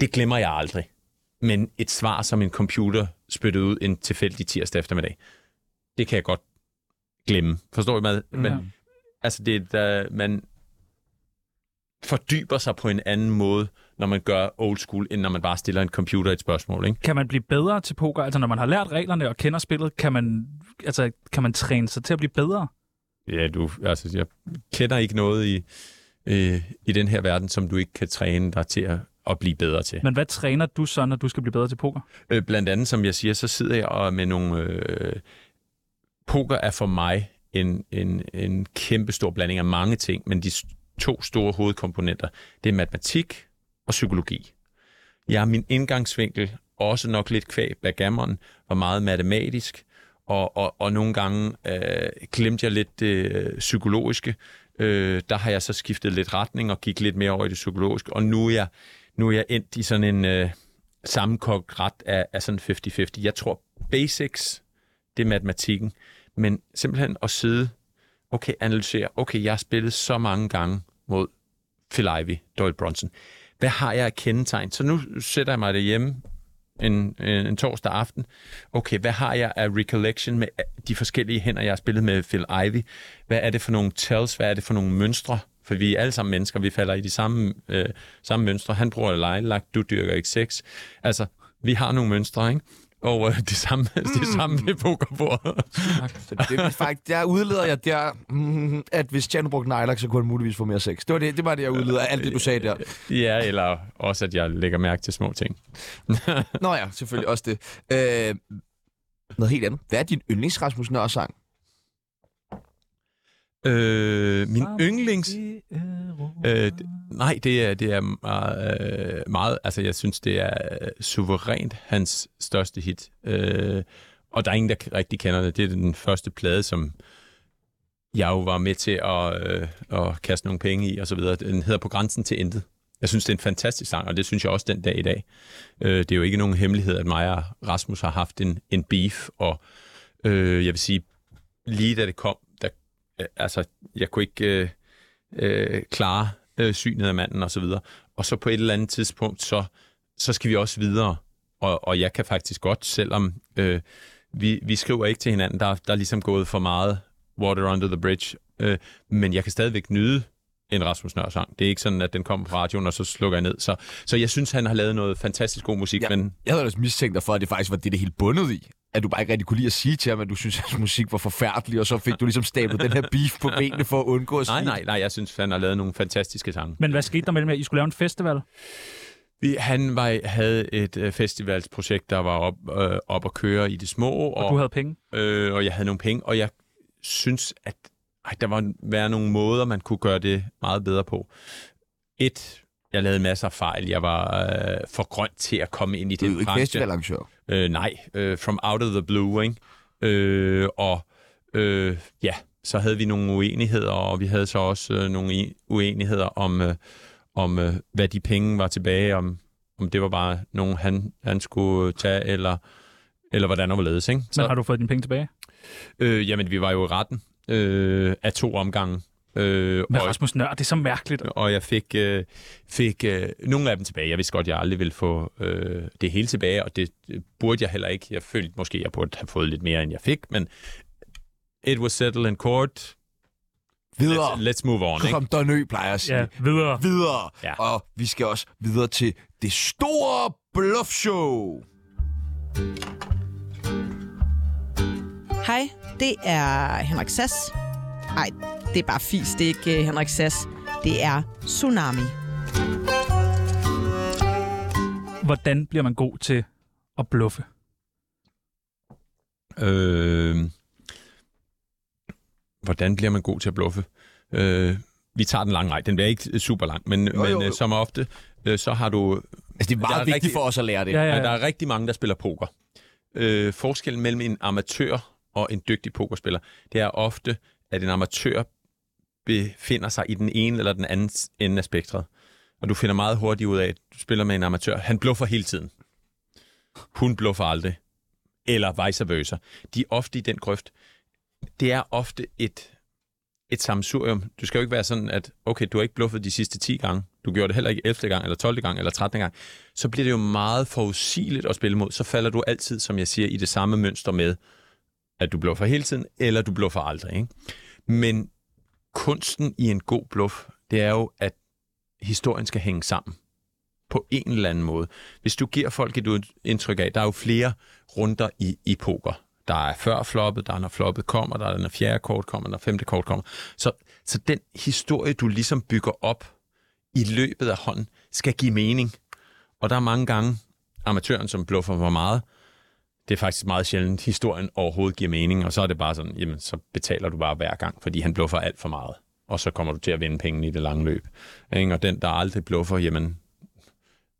[SPEAKER 4] Det glemmer jeg aldrig. Men et svar, som en computer spyttede ud en tilfældig tirsdag eftermiddag, det kan jeg godt glemme. Forstår I hvad? Men,
[SPEAKER 3] Ja.
[SPEAKER 4] Altså, det er, uh, man fordyber sig på en anden måde, når man gør old school, end når man bare stiller en computer et spørgsmål. Ikke?
[SPEAKER 3] Kan man blive bedre til poker? Altså, når man har lært reglerne og kender spillet, kan man, altså, kan man træne sig til at blive bedre?
[SPEAKER 4] Ja, du, altså, jeg kender ikke noget i, øh, i den her verden, som du ikke kan træne dig til at, at blive bedre til.
[SPEAKER 3] Men hvad træner du så, når du skal blive bedre til poker?
[SPEAKER 4] Øh, blandt andet, som jeg siger, så sidder jeg og med nogle... Øh, poker er for mig en, en, en kæmpe stor blanding af mange ting, men de s- to store hovedkomponenter, det er matematik og psykologi. Jeg er min indgangsvinkel, også nok lidt kvæg backgammon, var meget matematisk, og, og, og nogle gange øh, glemte jeg lidt det øh, psykologiske. Øh, der har jeg så skiftet lidt retning og gik lidt mere over i det psykologiske, og nu er jeg, nu er jeg endt i sådan en... Øh, sammenkogt ret af, af sådan 50-50. Jeg tror, basics, det er matematikken, men simpelthen at sidde, okay, analysere, okay, jeg har spillet så mange gange mod Phil Ivey, Doyle Bronson. Hvad har jeg af kendetegn? Så nu sætter jeg mig derhjemme en, øh, en, en torsdag aften. Okay, hvad har jeg af recollection med øh, de forskellige hænder, jeg har spillet med Phil Ivey? Hvad er det for nogle tells? Hvad er det for nogle mønstre? For vi er alle sammen mennesker, vi falder i de samme, øh, samme mønstre. Han bruger lejlagt, du dyrker ikke sex. Altså, vi har nogle mønstre, ikke? over det samme, det samme ved pokerbordet.
[SPEAKER 1] Så det er faktisk, der udleder jeg der, mm, at hvis Tjerno brugte nejlak, så kunne han muligvis få mere sex. Det var det, det, var det jeg udleder af alt det, du sagde der.
[SPEAKER 4] Ja, eller også, at jeg lægger mærke til små ting.
[SPEAKER 1] Nå ja, selvfølgelig også det. Øh, noget helt andet. Hvad er din yndlings Rasmus Nørresang?
[SPEAKER 4] Øh, min yndlings... Øh, d- nej, det er, det er meget, øh, meget... Altså, jeg synes, det er øh, suverænt hans største hit. Øh, og der er ingen, der k- rigtig kender det. Det er den første plade, som jeg jo var med til at, øh, at kaste nogle penge i, og så videre. Den hedder På grænsen til intet. Jeg synes, det er en fantastisk sang, og det synes jeg også den dag i dag. Øh, det er jo ikke nogen hemmelighed, at mig og Rasmus har haft en, en beef, og øh, jeg vil sige, lige da det kom, der, øh, altså, jeg kunne ikke øh, øh, klare øh, synet af manden og så videre. Og så på et eller andet tidspunkt, så, så skal vi også videre. Og, og jeg kan faktisk godt, selvom øh, vi, vi skriver ikke til hinanden, der, der er ligesom gået for meget water under the bridge, øh, men jeg kan stadigvæk nyde en Rasmus Nør sang. Det er ikke sådan, at den kommer på radioen, og så slukker jeg ned. Så, så jeg synes, han har lavet noget fantastisk god musik, ja.
[SPEAKER 1] Ja.
[SPEAKER 4] men
[SPEAKER 1] Jeg havde også mistænkt dig for, at det faktisk var det, det hele bundet i. At du bare ikke rigtig kunne lide at sige til ham, at du synes, at hans musik var forfærdelig, og så fik du ligesom stablet den her beef på benene for at undgå at
[SPEAKER 4] nej,
[SPEAKER 1] sige-
[SPEAKER 4] nej, nej, jeg synes, han har lavet nogle fantastiske sange.
[SPEAKER 3] Men hvad skete der mellem jer? I skulle lave en festival?
[SPEAKER 4] Vi, han var, havde et øh, festivalsprojekt, der var op, øh, op at køre i det små, og,
[SPEAKER 3] Du havde penge.
[SPEAKER 4] øh, og jeg havde nogle penge, og jeg synes, at ej, der var være nogle måder, man kunne gøre det meget bedre på. Et, jeg lavede masser af fejl. Jeg var øh, for grøn til at komme ind i
[SPEAKER 1] Du er jo
[SPEAKER 4] den
[SPEAKER 1] ikke
[SPEAKER 4] branche.
[SPEAKER 1] festivalarrangør.
[SPEAKER 4] Øh, nej, øh, From Out of the Blue, ikke? Øh, og øh, ja, så havde vi nogle uenigheder, og vi havde så også øh, nogle i- uenigheder om, øh, om øh, hvad de penge var tilbage, om, om det var bare nogen, han, han skulle tage, eller, eller hvordan og hvorledes, ikke?
[SPEAKER 3] Men har du fået dine penge tilbage?
[SPEAKER 4] Øh, jamen, vi var jo i retten øh, af to omgange. Øh,
[SPEAKER 3] Men
[SPEAKER 4] og,
[SPEAKER 3] Rasmus Nør, det er så mærkeligt.
[SPEAKER 4] og jeg fik, øh, fik øh, nogle af dem tilbage. Jeg vidste godt, at jeg aldrig ville få øh, det hele tilbage, og det øh, burde jeg heller ikke. Jeg følte måske, at jeg burde have fået lidt mere, end jeg fik, men it was settled in court.
[SPEAKER 1] Videre.
[SPEAKER 4] Let's, let's move on, ikke?
[SPEAKER 1] Kom Don Ø, plejer at sige.
[SPEAKER 3] Ja, videre.
[SPEAKER 1] Videre.
[SPEAKER 4] Ja.
[SPEAKER 1] Og vi skal også videre til det store bluffshow.
[SPEAKER 9] Hej, det er Henrik Sass. Nej, det er bare fis, det er ikke øh, Henrik Sass. Det er Tsunami.
[SPEAKER 3] Hvordan bliver man god til at bluffe?
[SPEAKER 4] Øh, hvordan bliver man god til at bluffe? Øh, vi tager den lange vej. Den bliver ikke super lang, men, jo,
[SPEAKER 1] jo,
[SPEAKER 4] men
[SPEAKER 1] jo.
[SPEAKER 4] øh, som ofte, øh, så har du
[SPEAKER 1] Altså, det er meget
[SPEAKER 4] Der er
[SPEAKER 1] er vigtigt
[SPEAKER 4] rigtig-
[SPEAKER 1] rigtig... for os at lære det.
[SPEAKER 3] Ja,
[SPEAKER 4] Ja,
[SPEAKER 3] ja,
[SPEAKER 4] ja. Der
[SPEAKER 3] ja.
[SPEAKER 4] er rigtig mange, der spiller poker. Øh, forskellen mellem en amatør og en dygtig pokerspiller, det er ofte, at en amatør befinder sig i den ene eller den anden ende af spektret. Og du finder meget hurtigt ud af, at du spiller med en amatør. Han bluffer hele tiden. Hun bluffer aldrig. Eller vice versa. De er ofte i den grøft. Det er ofte et, et samsurium. Du skal jo ikke være sådan, at okay, du har ikke bluffet de sidste 10 gange. Du gjorde det heller ikke 11. gang, eller 12. gang, eller 13. gang så bliver det jo meget forudsigeligt at spille mod. Så falder du altid, som jeg siger, i det samme mønster med, at du bluffer hele tiden, eller du bluffer aldrig. Ikke? Men kunsten i en god bluff, det er jo, at historien skal hænge sammen på en eller anden måde. Hvis du giver folk et indtryk af, der er jo flere runder i, i poker. Der er før floppet, der er når floppet kommer, der er når fjerde kort kommer, når femte kort kommer. Så, så den historie, du ligesom bygger op i løbet af hånden, skal give mening. Og der er mange gange, amatøren, som bluffer for meget, det er faktisk meget sjældent, historien overhovedet giver mening, og så er det bare sådan, jamen så betaler du bare hver gang, fordi han bluffer alt for meget, og så kommer du til at vinde pengene i det lange løb. Ikke? Og den, der aldrig bluffer, jamen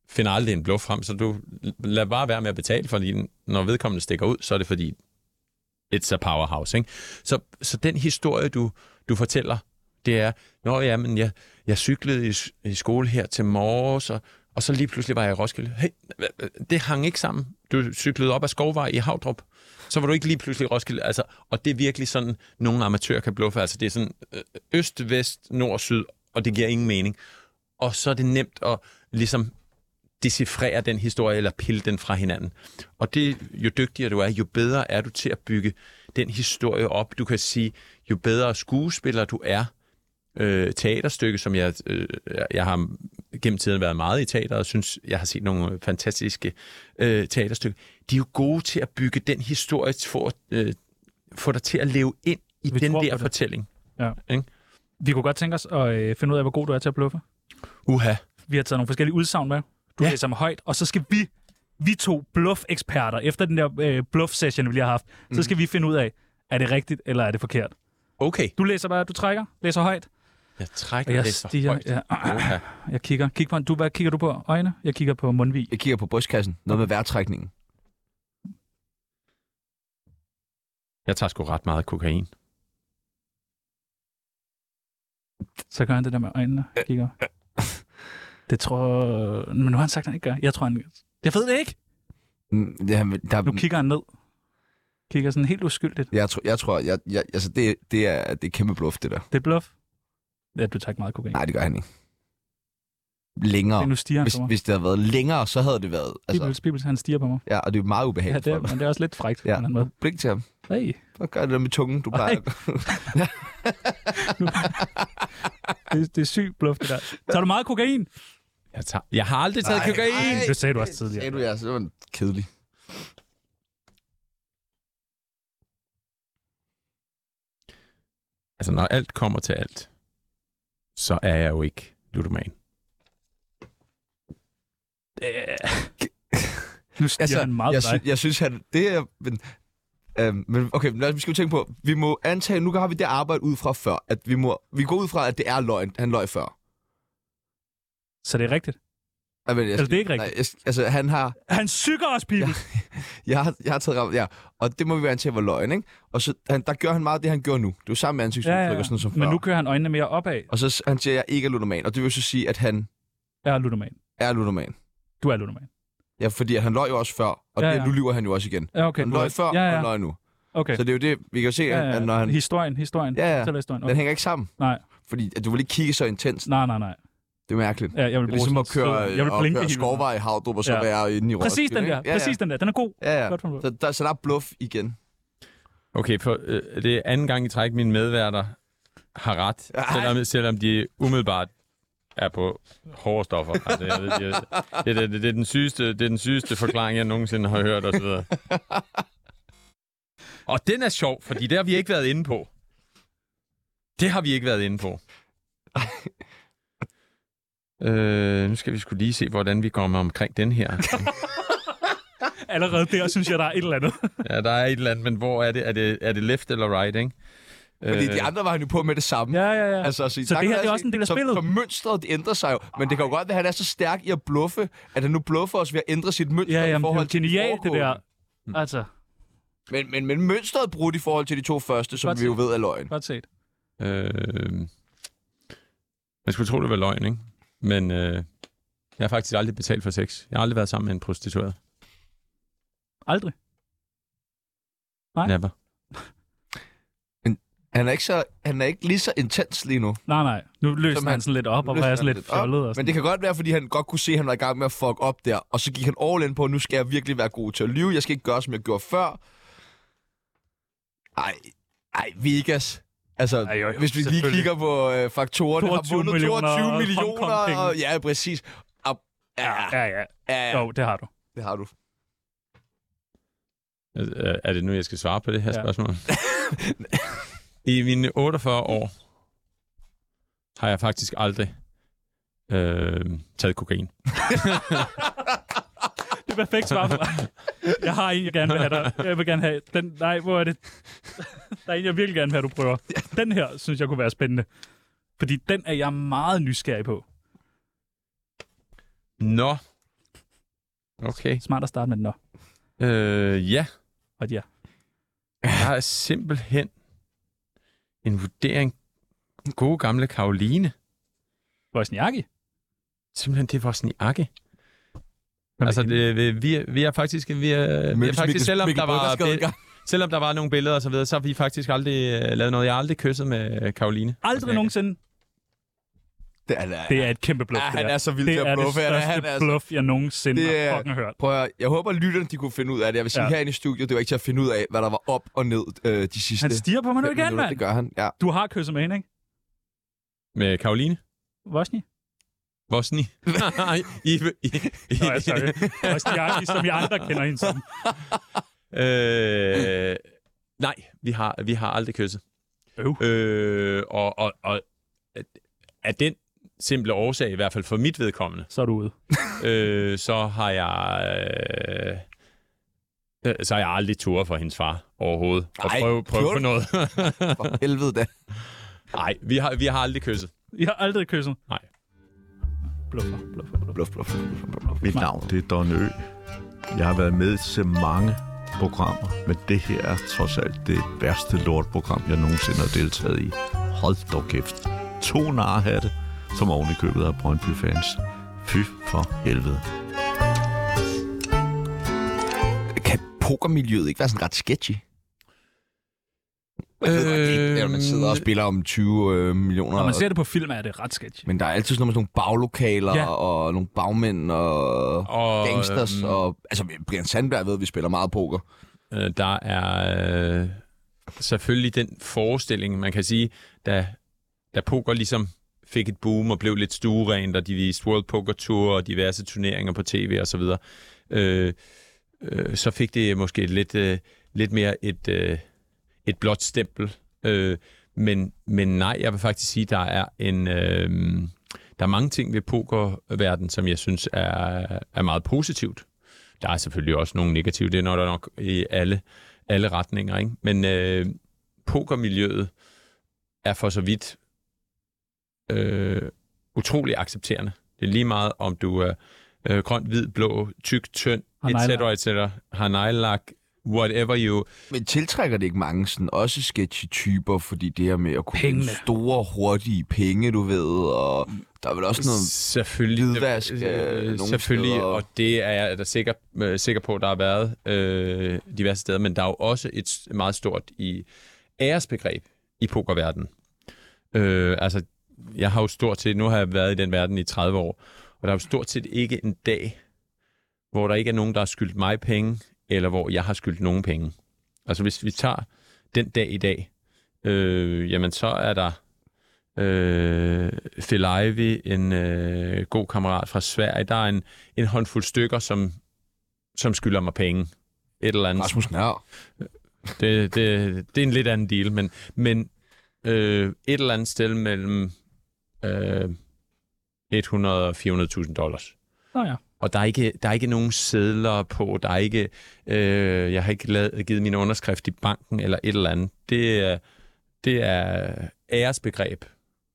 [SPEAKER 4] finder aldrig en bluff frem, så du lad bare være med at betale, fordi når vedkommende stikker ud, så er det fordi, it's a powerhouse. Ikke? Så, så den historie, du, du fortæller, det er, nå ja, men jeg, jeg cyklede i, i skole her til morges, og, og så lige pludselig var jeg i Roskilde. Hey, hva- hva- det hang ikke sammen. Du cyklede op ad Skovvej i Havdrup. Så var du ikke lige pludselig i Roskilde. Altså, og det er virkelig sådan, nogle amatører kan bluffe. Altså, det er sådan øh, øst, vest, nord, syd, og det giver ingen mening. Og så er det nemt at ligesom decifrere den historie, eller pille den fra hinanden. Og det, jo dygtigere du er, jo bedre er du til at bygge den historie op. Du kan sige, jo bedre skuespiller du er, øh, teaterstykke, som jeg, øh, jeg har gennem tiden været meget i teater, og synes, jeg har set nogle fantastiske øh, teaterstykker. de er jo gode til at bygge den historie for at øh, få dig til at leve ind i
[SPEAKER 3] Vi
[SPEAKER 4] den
[SPEAKER 3] tror på
[SPEAKER 4] der
[SPEAKER 3] det.
[SPEAKER 4] fortælling.
[SPEAKER 3] Vi kunne godt tænke os at øh, finde ud af, hvor god du er til at bluffe.
[SPEAKER 4] Uha.
[SPEAKER 3] Vi har taget nogle forskellige udsagn med. Du ja.
[SPEAKER 4] Ja.
[SPEAKER 3] læser dem højt, og så skal vi, vi to bluff-eksperter, efter den der øh, bluff-session, vi lige har haft, mm. så skal vi finde ud af, er det rigtigt, eller er det forkert.
[SPEAKER 4] Okay.
[SPEAKER 3] Du læser bare, du trækker, læser højt,
[SPEAKER 4] Jeg
[SPEAKER 3] og
[SPEAKER 4] trækker
[SPEAKER 3] jeg
[SPEAKER 4] det så
[SPEAKER 3] stiger.
[SPEAKER 4] højt.
[SPEAKER 3] Ja,
[SPEAKER 4] Uha.
[SPEAKER 3] jeg kigger. Kig på, du, hvad kigger du på? Øjne? Jeg kigger på mundvig.
[SPEAKER 1] Jeg kigger på brystkassen. Noget med vejrtrækningen.
[SPEAKER 4] Jeg tager sgu ret meget kokain.
[SPEAKER 3] Så gør han det der med øjnene. Kigger. Det tror... Men nu har han sagt, at han ikke gør. Jeg tror, han... Jeg ved det ikke!
[SPEAKER 1] Mm, det her med- Der,
[SPEAKER 3] Nu kigger han ned. Kigger sådan helt uskyldigt.
[SPEAKER 1] jeg, tror, jeg tror, jeg, jeg, altså det, det, er, det er kæmpe bluff, det der.
[SPEAKER 3] Det er bluff. Ja, du tager ikke meget kokain.
[SPEAKER 1] Nej, det gør han ikke.
[SPEAKER 3] Det
[SPEAKER 1] Længere.
[SPEAKER 3] er nu stiger han
[SPEAKER 1] Hvis,
[SPEAKER 3] på mig.
[SPEAKER 1] hvis det havde været længere, så havde det været... Altså,
[SPEAKER 3] Bibels, Bibels, han stiger på mig.
[SPEAKER 1] ja, og det er jo meget
[SPEAKER 3] Ja,
[SPEAKER 1] ubehageligt
[SPEAKER 3] det er,
[SPEAKER 1] for dig.
[SPEAKER 3] men det er også lidt frækt.
[SPEAKER 1] Ja.
[SPEAKER 3] Ja. Han med.
[SPEAKER 1] Blink til ham.
[SPEAKER 3] Hey.
[SPEAKER 1] Så gør det der med tungen, du plejer.
[SPEAKER 3] Det, det er sygt bluff, det der. Tager du meget kokain?
[SPEAKER 4] Jeg, tager... jeg har aldrig taget
[SPEAKER 1] Nej.
[SPEAKER 4] kokain.
[SPEAKER 1] Ej.
[SPEAKER 3] Det sagde du også
[SPEAKER 1] Sagde
[SPEAKER 3] tidligere.
[SPEAKER 1] du, ja, så var den kedelig.
[SPEAKER 4] Altså, når alt kommer til alt, så er jeg jo ikke ludoman.
[SPEAKER 3] Nu stiger altså, han meget
[SPEAKER 1] jeg,
[SPEAKER 3] på dig.
[SPEAKER 1] sy- jeg synes, han... Det er... Men, øhm, men okay, men lad os, vi skal jo tænke på, vi må antage, nu har vi det arbejde ud fra før, at vi må, vi går ud fra, at det er løgn, han løj før.
[SPEAKER 3] Så det er rigtigt.
[SPEAKER 1] Ej, men jeg,
[SPEAKER 3] Eller det er ikke
[SPEAKER 1] Nej, jeg, altså, han har,
[SPEAKER 3] Han sykker os, Bibels.
[SPEAKER 1] jeg, har, jeg har taget ramt, ja, og det må vi være antage var løgn, ikke? Og så, han, der gør han meget af det, han gjorde nu. Det er jo samme ansigtsudtryk ja, ja, ja. og sådan noget som
[SPEAKER 3] Men
[SPEAKER 1] før.
[SPEAKER 3] nu kører han øjnene mere opad.
[SPEAKER 1] Og så s- han siger, at jeg ikke er ludoman, og det vil så sige, at han
[SPEAKER 3] Jeg er ludoman.
[SPEAKER 1] er ludoman.
[SPEAKER 3] Du er ludoman.
[SPEAKER 1] Ja, fordi han løj jo også før, og
[SPEAKER 3] Ja,
[SPEAKER 1] ja, ja.
[SPEAKER 3] ja.
[SPEAKER 1] Det, nu lyver han jo også igen.
[SPEAKER 3] Ja, okay.
[SPEAKER 1] Han
[SPEAKER 3] du
[SPEAKER 1] løj
[SPEAKER 3] er-
[SPEAKER 1] før,
[SPEAKER 3] ja, ja.
[SPEAKER 1] og han løj nu.
[SPEAKER 3] Okay.
[SPEAKER 1] Så det er jo det, vi kan jo se,
[SPEAKER 3] ja, ja.
[SPEAKER 1] at når han...
[SPEAKER 3] Historien, historien.
[SPEAKER 1] Ja, ja.
[SPEAKER 3] Fortæl historien.
[SPEAKER 1] Den
[SPEAKER 3] Okay.
[SPEAKER 1] hænger ikke sammen.
[SPEAKER 3] Nej.
[SPEAKER 1] Fordi at du vil ikke kigge så intenst.
[SPEAKER 3] Nej, nej, nej.
[SPEAKER 1] Det er mærkeligt.
[SPEAKER 3] Ja, jeg vil
[SPEAKER 1] Det er
[SPEAKER 3] bruge
[SPEAKER 1] ligesom
[SPEAKER 3] sådan
[SPEAKER 1] at
[SPEAKER 3] en
[SPEAKER 1] køre,
[SPEAKER 3] sted. jeg vil
[SPEAKER 1] at
[SPEAKER 3] blinke
[SPEAKER 1] køre
[SPEAKER 3] hele tiden.
[SPEAKER 1] skovvej i Havdrup, og så
[SPEAKER 3] Ja.
[SPEAKER 1] ja. være inde i Roskilde.
[SPEAKER 3] Præcis den der.
[SPEAKER 1] ikke? Ja,
[SPEAKER 3] Præcis den der. Den er god.
[SPEAKER 1] Ja, ja.
[SPEAKER 3] Godt formuleret.
[SPEAKER 1] Så der, så der er bluff igen.
[SPEAKER 4] Okay, for øh, det er anden gang i træk, mine medværter har ret,
[SPEAKER 1] Ej.
[SPEAKER 4] selvom, selvom de umiddelbart er på hårde stoffer. Altså, jeg ved, jeg, det, det, det, det, er den sygeste, det er den sygeste forklaring, jeg nogensinde har hørt osv. Og den er sjov, fordi det har vi ikke været inde på. Det har vi ikke været inde på. Øh, nu skal vi skulle lige se, hvordan vi kommer omkring den her.
[SPEAKER 3] Allerede der synes jeg, der er et eller andet.
[SPEAKER 1] Mm.
[SPEAKER 4] Ja, der er et eller andet, men hvor er det? Er det, er det left eller right, ikke? Øh,
[SPEAKER 1] Fordi de andre var han jo på med det samme.
[SPEAKER 3] Øh. ja, ja, ja.
[SPEAKER 1] Altså, at sige,
[SPEAKER 3] Så
[SPEAKER 1] tak
[SPEAKER 3] det her,
[SPEAKER 1] for
[SPEAKER 3] det er
[SPEAKER 1] at
[SPEAKER 3] også en del af
[SPEAKER 1] se.
[SPEAKER 3] spillet.
[SPEAKER 1] Så, så mønstret, det ændrer sig jo. Men det kan jo godt være, at han er så stærk i at bluffe, at han nu bluffer os ved at ændre sit mønster
[SPEAKER 3] Ja,
[SPEAKER 1] i
[SPEAKER 3] ja, men det er
[SPEAKER 1] forhold
[SPEAKER 3] jo genialt, det der.
[SPEAKER 1] foregående.
[SPEAKER 3] Altså,
[SPEAKER 1] Men, men, men mønstret er brudt i forhold til de to første, som
[SPEAKER 3] Godt
[SPEAKER 1] vi jo
[SPEAKER 3] set.
[SPEAKER 1] ved er løgn.
[SPEAKER 3] godt set.
[SPEAKER 4] Øh, man skulle tro, det var løgn, ikke? Men øh, jeg har faktisk aldrig betalt for sex. Jeg har aldrig været sammen med en prostitueret.
[SPEAKER 3] Aldrig. Nej.
[SPEAKER 4] Never.
[SPEAKER 1] Han er, ikke så, han er ikke lige så intens lige nu.
[SPEAKER 3] Nej, nej. Nu løser
[SPEAKER 1] Som
[SPEAKER 3] han
[SPEAKER 1] han-
[SPEAKER 3] sådan lidt op, og
[SPEAKER 1] Nu
[SPEAKER 3] var jeg
[SPEAKER 1] løsner
[SPEAKER 3] sådan
[SPEAKER 1] han
[SPEAKER 3] lidt
[SPEAKER 1] op,
[SPEAKER 3] fjollet. Og sådan.
[SPEAKER 1] Men det kan godt være, fordi han godt kunne se, at han var i gang med at fuck op der, og så gik han all in på, at nu skal jeg virkelig være god til at lyve. Jeg skal ikke gøre, som jeg gjorde før. Ej, ej, Vegas. Altså,
[SPEAKER 3] Ej,
[SPEAKER 1] ej,
[SPEAKER 3] jo, jo,
[SPEAKER 1] jo, hvis vi lige
[SPEAKER 3] selvfølgelig.
[SPEAKER 1] kigger på øh, faktorerne, har
[SPEAKER 3] 22
[SPEAKER 1] vundet
[SPEAKER 3] millioner
[SPEAKER 1] 22
[SPEAKER 3] Hongkong-penge.
[SPEAKER 1] millioner. Og, ja, præcis. Og, ja,
[SPEAKER 3] Ja, ja.
[SPEAKER 1] ja,
[SPEAKER 3] Jo, det har du.
[SPEAKER 1] det har du.
[SPEAKER 4] Er, Øh, er det nu, jeg skal svare på det her
[SPEAKER 3] Ja.
[SPEAKER 4] ja. spørgsmål? I mine 48 år har jeg faktisk aldrig øh, taget kokain.
[SPEAKER 3] Det er perfekt svar for mig. Jeg har en, jeg gerne vil have dig. Jeg vil gerne have den. Nej, hvor er det? Der er en, jeg virkelig gerne vil have, du prøver. Den her, synes jeg kunne være spændende. Fordi den er jeg meget nysgerrig på.
[SPEAKER 4] Nå. Okay.
[SPEAKER 3] Smart at starte med den nå.
[SPEAKER 4] Øh, ja.
[SPEAKER 3] Og ja.
[SPEAKER 4] Der er simpelthen en vurdering. Den gode gamle Karoline.
[SPEAKER 3] Vosniaki?
[SPEAKER 4] Simpelthen, det var sådan i akke.
[SPEAKER 3] med
[SPEAKER 4] Altså,
[SPEAKER 3] hende?
[SPEAKER 4] det, vi- vi, er- vi er faktisk, vi er, vi er
[SPEAKER 1] Mødtes
[SPEAKER 4] faktisk
[SPEAKER 1] Mikkel-
[SPEAKER 4] selvom,
[SPEAKER 1] Mikkel
[SPEAKER 4] der var,
[SPEAKER 1] Bødkerskade engang.
[SPEAKER 4] selvom der var nogle billeder og så videre, så har vi faktisk aldrig øh, lavet noget. Jeg har aldrig kysset med øh, Karoline.
[SPEAKER 3] Aldrig nogensinde.
[SPEAKER 1] Det er, det er,
[SPEAKER 3] Det er et kæmpe bluff,
[SPEAKER 1] Ja,
[SPEAKER 3] det
[SPEAKER 1] Ah, han
[SPEAKER 3] der.
[SPEAKER 1] er så vild
[SPEAKER 3] det
[SPEAKER 1] til at
[SPEAKER 3] er
[SPEAKER 1] bluffe,
[SPEAKER 3] Det
[SPEAKER 1] han er-
[SPEAKER 3] største
[SPEAKER 1] han er så-
[SPEAKER 3] bluff, jeg nogensinde
[SPEAKER 1] Det
[SPEAKER 3] har
[SPEAKER 1] er-
[SPEAKER 3] fucking hørt.
[SPEAKER 1] Prøv at, høre, jeg håber, lytterne de kunne finde ud af det. Jeg vil sige,
[SPEAKER 3] Ja.
[SPEAKER 1] ja. herinde i studiet, det var ikke til at finde ud af, hvad der var op og ned øh, de sidste
[SPEAKER 3] Han stiger på mig nu
[SPEAKER 1] fem
[SPEAKER 3] igen,
[SPEAKER 1] minutter. Det
[SPEAKER 3] mand.
[SPEAKER 1] gør han, ja.
[SPEAKER 3] Du har kysset med hende, ikke?
[SPEAKER 4] Med Karoline?
[SPEAKER 3] Vosni?
[SPEAKER 4] Vosni. Nej, I, I, I,
[SPEAKER 3] Nå, altså, ja, sorry. Ostiaki, som I andre kender hende som.
[SPEAKER 4] øh, nej, vi har, vi har aldrig kysset.
[SPEAKER 3] Øv.
[SPEAKER 4] Øh, og, og, og at- af den simple årsag, i hvert fald for mit vedkommende,
[SPEAKER 3] Så er du ude.
[SPEAKER 4] øh, så har jeg... Øh, øh, så har jeg aldrig turet for hendes far overhovedet. og
[SPEAKER 1] Nej,
[SPEAKER 4] prøve, prøve
[SPEAKER 1] gjorde
[SPEAKER 4] på
[SPEAKER 1] du?
[SPEAKER 4] noget.
[SPEAKER 1] For helvede da.
[SPEAKER 4] Nej, vi har, vi har aldrig kysset.
[SPEAKER 3] I har aldrig kysset?
[SPEAKER 4] Nej.
[SPEAKER 3] Bluffer, bluffer, bluffer.
[SPEAKER 1] Bluff, bluff, bluff, bluff, bluff.
[SPEAKER 10] Mit navn det er Don Ø. Jeg har været med til mange programmer, men det her er trods alt det værste lortprogram, jeg nogensinde har deltaget i. Hold dog kæft. To narhatte, som oven i købet af Brøndby-fans. Fy for helvede.
[SPEAKER 1] Kan pokermiljøet ikke være sådan ret sketchy? Jeg ved godt, det er ikke, når man sidder og spiller om 20 øh, millioner.
[SPEAKER 3] Når man ser det på film, er det ret sketchy.
[SPEAKER 1] Men der er altid sådan noget med sådan nogle baglokaler
[SPEAKER 3] Ja.
[SPEAKER 1] ja. og nogle bagmænd og
[SPEAKER 4] Og,
[SPEAKER 1] gangsters.
[SPEAKER 4] øhm,
[SPEAKER 1] og, altså, Brian Sandberg ved, at vi spiller meget poker.
[SPEAKER 4] Øh, der er øh, selvfølgelig den forestilling, man kan sige, da, da poker ligesom fik et boom og blev lidt stuerent, og de viste World Poker Tour og diverse turneringer på tv og så videre, øh, øh, så fik det måske lidt, øh, lidt mere et, øh, et blåt stempel. Øh, men, men nej, jeg vil faktisk sige, der er en... Øh, der er mange ting ved pokerverdenen, som jeg synes er, er meget positivt. Der er selvfølgelig også nogle negative, det er nok, der nok i alle, alle retninger, ikke? Men øh, pokermiljøet er for så vidt øh, utrolig accepterende. Det er lige meget, om du er øh, grøn, hvid, blå, tyk, tynd,
[SPEAKER 3] Har
[SPEAKER 4] etc.,
[SPEAKER 3] neglelak.
[SPEAKER 4] etc., har nejlak, whatever you...
[SPEAKER 1] Men tiltrækker det ikke mange sådan også sketchy typer, fordi det her med at kunne
[SPEAKER 3] Pengene.
[SPEAKER 1] finde store, hurtige penge, du ved, og der er vel også noget...
[SPEAKER 4] Selvfølgelig.
[SPEAKER 1] hvidvask, øh, nogle
[SPEAKER 4] selvfølgelig,
[SPEAKER 1] steder.
[SPEAKER 4] og det er jeg da sikker, øh, sikker på, der har været øh, diverse steder, men der er jo også et s- meget stort i æresbegreb i pokerverdenen. Øh, altså, jeg har jo stort set, nu har jeg været i den verden i 30 år, og der er jo stort set ikke en dag, hvor der ikke er nogen, der har skyldt mig penge, eller hvor jeg har skyldt nogen penge. Altså, hvis vi tager den dag i dag, øh, jamen så er der øh, Phil Ivey, en øh, god kammerat fra Sverige. Der er en, en håndfuld stykker, som, som skylder mig penge. Et eller andet.
[SPEAKER 1] Rasmus Nør.
[SPEAKER 4] Det, det, det er en lidt anden deal, men, men øh, et eller andet sted mellem øh, 100 og 400.000 dollars.
[SPEAKER 3] Nå ja.
[SPEAKER 4] Og der er, ikke, der er ikke nogen sædler på, der er ikke, øh, jeg har ikke lavet, givet min underskrift i banken eller et eller andet. Det er, det er æresbegreb.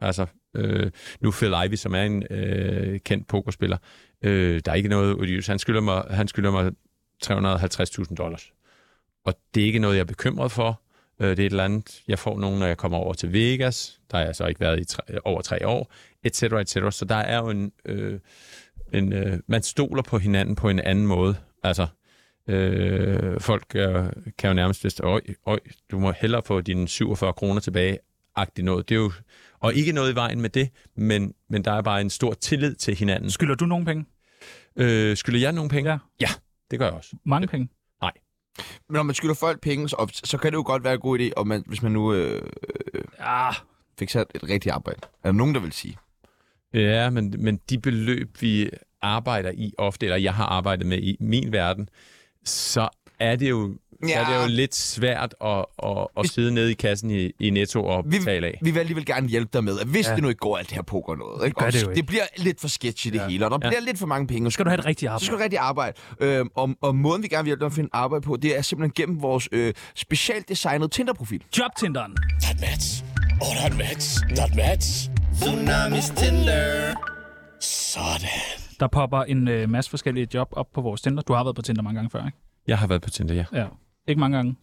[SPEAKER 4] Altså, øh, nu Phil Ivey, som er en øh, kendt pokerspiller, øh, der er ikke noget odiøst. Han skylder mig, han skylder mig 350.000 dollars. Og det er ikke noget, jeg er bekymret for. Øh, det er et eller andet, jeg får nogen, når jeg kommer over til Vegas. Der har jeg så ikke været i tre, over tre år, etc. etc. Så der er jo en... Øh, en, øh, man stoler på hinanden på en anden måde. Altså, øh, folk øh, kan jo nærmest vist, øj, øj, du må hellere få dine 47 kroner tilbage, agtigt noget. Det er jo, og ikke noget i vejen med det, men, men der er bare en stor tillid til hinanden.
[SPEAKER 3] Skylder du nogen penge?
[SPEAKER 4] Øh, skylder jeg nogen penge?
[SPEAKER 3] Ja.
[SPEAKER 4] ja, det gør jeg også.
[SPEAKER 3] Mange penge?
[SPEAKER 1] Men når man skylder folk penge, så, så kan det jo godt være en god idé, om man, hvis man nu øh,
[SPEAKER 5] Ah.
[SPEAKER 3] Ja,
[SPEAKER 1] fik sat et rigtigt arbejde. Er der nogen, der vil sige?
[SPEAKER 4] Ja, men, men de beløb, vi arbejder i ofte, eller jeg har arbejdet med i min verden, så er det jo, ja. er det jo lidt svært at, at, at sidde nede i kassen i, i Netto og
[SPEAKER 1] Vi,
[SPEAKER 4] betale af.
[SPEAKER 1] vi vil alligevel gerne hjælpe dig med, at hvis ja. det nu ikke går alt det her poker noget, ikke?
[SPEAKER 3] gør
[SPEAKER 1] Og
[SPEAKER 3] det jo ikke.
[SPEAKER 1] det bliver lidt for sketchy det ja. hele, og der ja. bliver lidt for mange penge.
[SPEAKER 3] skal du have et rigtigt
[SPEAKER 1] Så skal
[SPEAKER 3] arbejde.
[SPEAKER 1] du rigtig arbejde. Øhm, og, og måden, vi gerne vil hjælpe dig med at finde arbejde på, det er simpelthen gennem vores øh, specielt designet Tinder-profil.
[SPEAKER 3] Jobtinderen.
[SPEAKER 6] Not match. Oh, not match. Not match. Tsunamis Tinder. Sådan.
[SPEAKER 3] Der popper en øh, masse forskellige job op på vores Tinder. Du har været på Tinder mange gange før, ikke?
[SPEAKER 4] Jeg har været på Tinder, ja.
[SPEAKER 3] Ja. Ikke mange gange.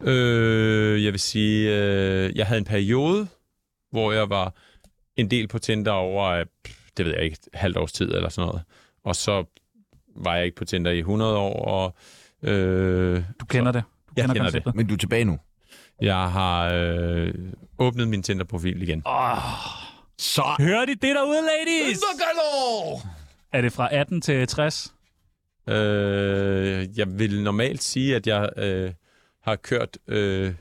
[SPEAKER 4] Øh, jeg vil sige, øh, jeg havde en periode, hvor jeg var en del på Tinder over, øh, pff, det ved jeg ikke, et halvt års tid eller sådan noget. Og så var jeg ikke på Tinder i 100 år, og øh,
[SPEAKER 3] Du kender det. Du
[SPEAKER 4] Jeg kender det.
[SPEAKER 3] konceptet.
[SPEAKER 1] Men du er tilbage nu.
[SPEAKER 4] jeg har øh, åbnet min Tinder-profil igen.
[SPEAKER 1] Så...
[SPEAKER 3] Hører de det derude, ladies? Er det fra 18 til 60?
[SPEAKER 4] Øh, jeg vil normalt sige, at jeg øh, har kørt øh,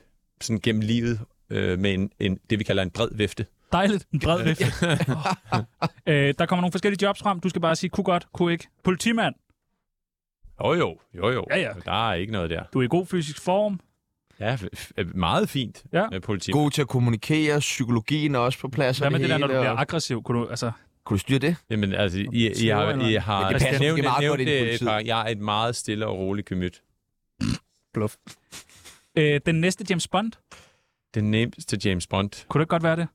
[SPEAKER 4] sådan gennem livet øh, med en, en, det, vi kalder en bred vifte.
[SPEAKER 3] Dejligt. En bred vifte. øh, der kommer nogle forskellige jobs frem. Du skal bare sige, kunne godt, kunne ikke. Politimand.
[SPEAKER 4] Jo, jo, jo, jo.
[SPEAKER 3] Ja, ja.
[SPEAKER 4] Der er ikke noget der.
[SPEAKER 3] Du er i god fysisk form.
[SPEAKER 4] Ja, f- f- meget fint
[SPEAKER 3] Ja.
[SPEAKER 4] med politi.
[SPEAKER 1] God til at kommunikere, psykologien er også på plads. og
[SPEAKER 3] Hvad med det der,
[SPEAKER 1] hele,
[SPEAKER 3] når du bliver
[SPEAKER 1] og-
[SPEAKER 3] aggressiv? Kunne du, altså,
[SPEAKER 1] Kunne du styre det?
[SPEAKER 4] Jamen, altså, I, I, I, har, I har
[SPEAKER 1] Men det passer
[SPEAKER 4] nævnt,
[SPEAKER 1] måske meget
[SPEAKER 4] nævnt
[SPEAKER 1] godt ind i
[SPEAKER 4] det, et
[SPEAKER 1] politiet.
[SPEAKER 4] par, jeg er et meget stille og roligt gemyt.
[SPEAKER 3] bluff. Øh, den næste James Bond.
[SPEAKER 4] Den nemmeste James Bond.
[SPEAKER 3] Kunne det ikke godt være det?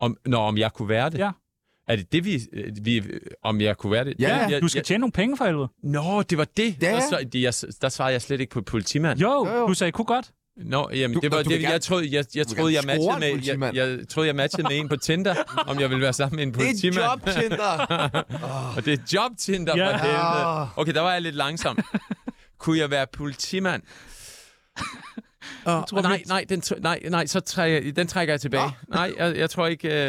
[SPEAKER 4] Om, når om jeg kunne være det?
[SPEAKER 3] Ja.
[SPEAKER 4] Er det det, vi, øh, vi... øh, Om jeg kunne være det?
[SPEAKER 1] Ja,
[SPEAKER 4] jeg,
[SPEAKER 3] Du skal
[SPEAKER 4] jeg,
[SPEAKER 3] tjene nogle penge for helvede.
[SPEAKER 4] Nå, det var det.
[SPEAKER 1] Ja.
[SPEAKER 4] Der, svar, det- jeg, der svarede jeg slet ikke på politimand.
[SPEAKER 3] Jo,
[SPEAKER 1] Jo, jo.
[SPEAKER 3] du sagde, kunne godt.
[SPEAKER 4] Nå, jamen,
[SPEAKER 1] Du-
[SPEAKER 4] det var
[SPEAKER 1] nå, du
[SPEAKER 4] det,
[SPEAKER 1] vil
[SPEAKER 4] jeg,
[SPEAKER 1] gerne-
[SPEAKER 4] troede, jeg, jeg,
[SPEAKER 1] du vil
[SPEAKER 4] troede, jeg
[SPEAKER 1] gerne
[SPEAKER 4] matchede
[SPEAKER 1] score en
[SPEAKER 4] med, jeg,
[SPEAKER 1] politimand.
[SPEAKER 4] jeg, troede, jeg matchede med en på Tinder, om jeg ville være sammen med en
[SPEAKER 1] Det er et
[SPEAKER 4] politimand.
[SPEAKER 1] job, Tinder!
[SPEAKER 4] Og det er job Tinder
[SPEAKER 3] Ja.
[SPEAKER 4] ja. for helvede.
[SPEAKER 1] Ah.
[SPEAKER 4] Okay, der var jeg lidt langsom. Kunne jeg være politimand? Og, og nej, nej, den, tr- nej, nej, så trækker, den trækker jeg tilbage. Nej, jeg, jeg tror ikke... Øh,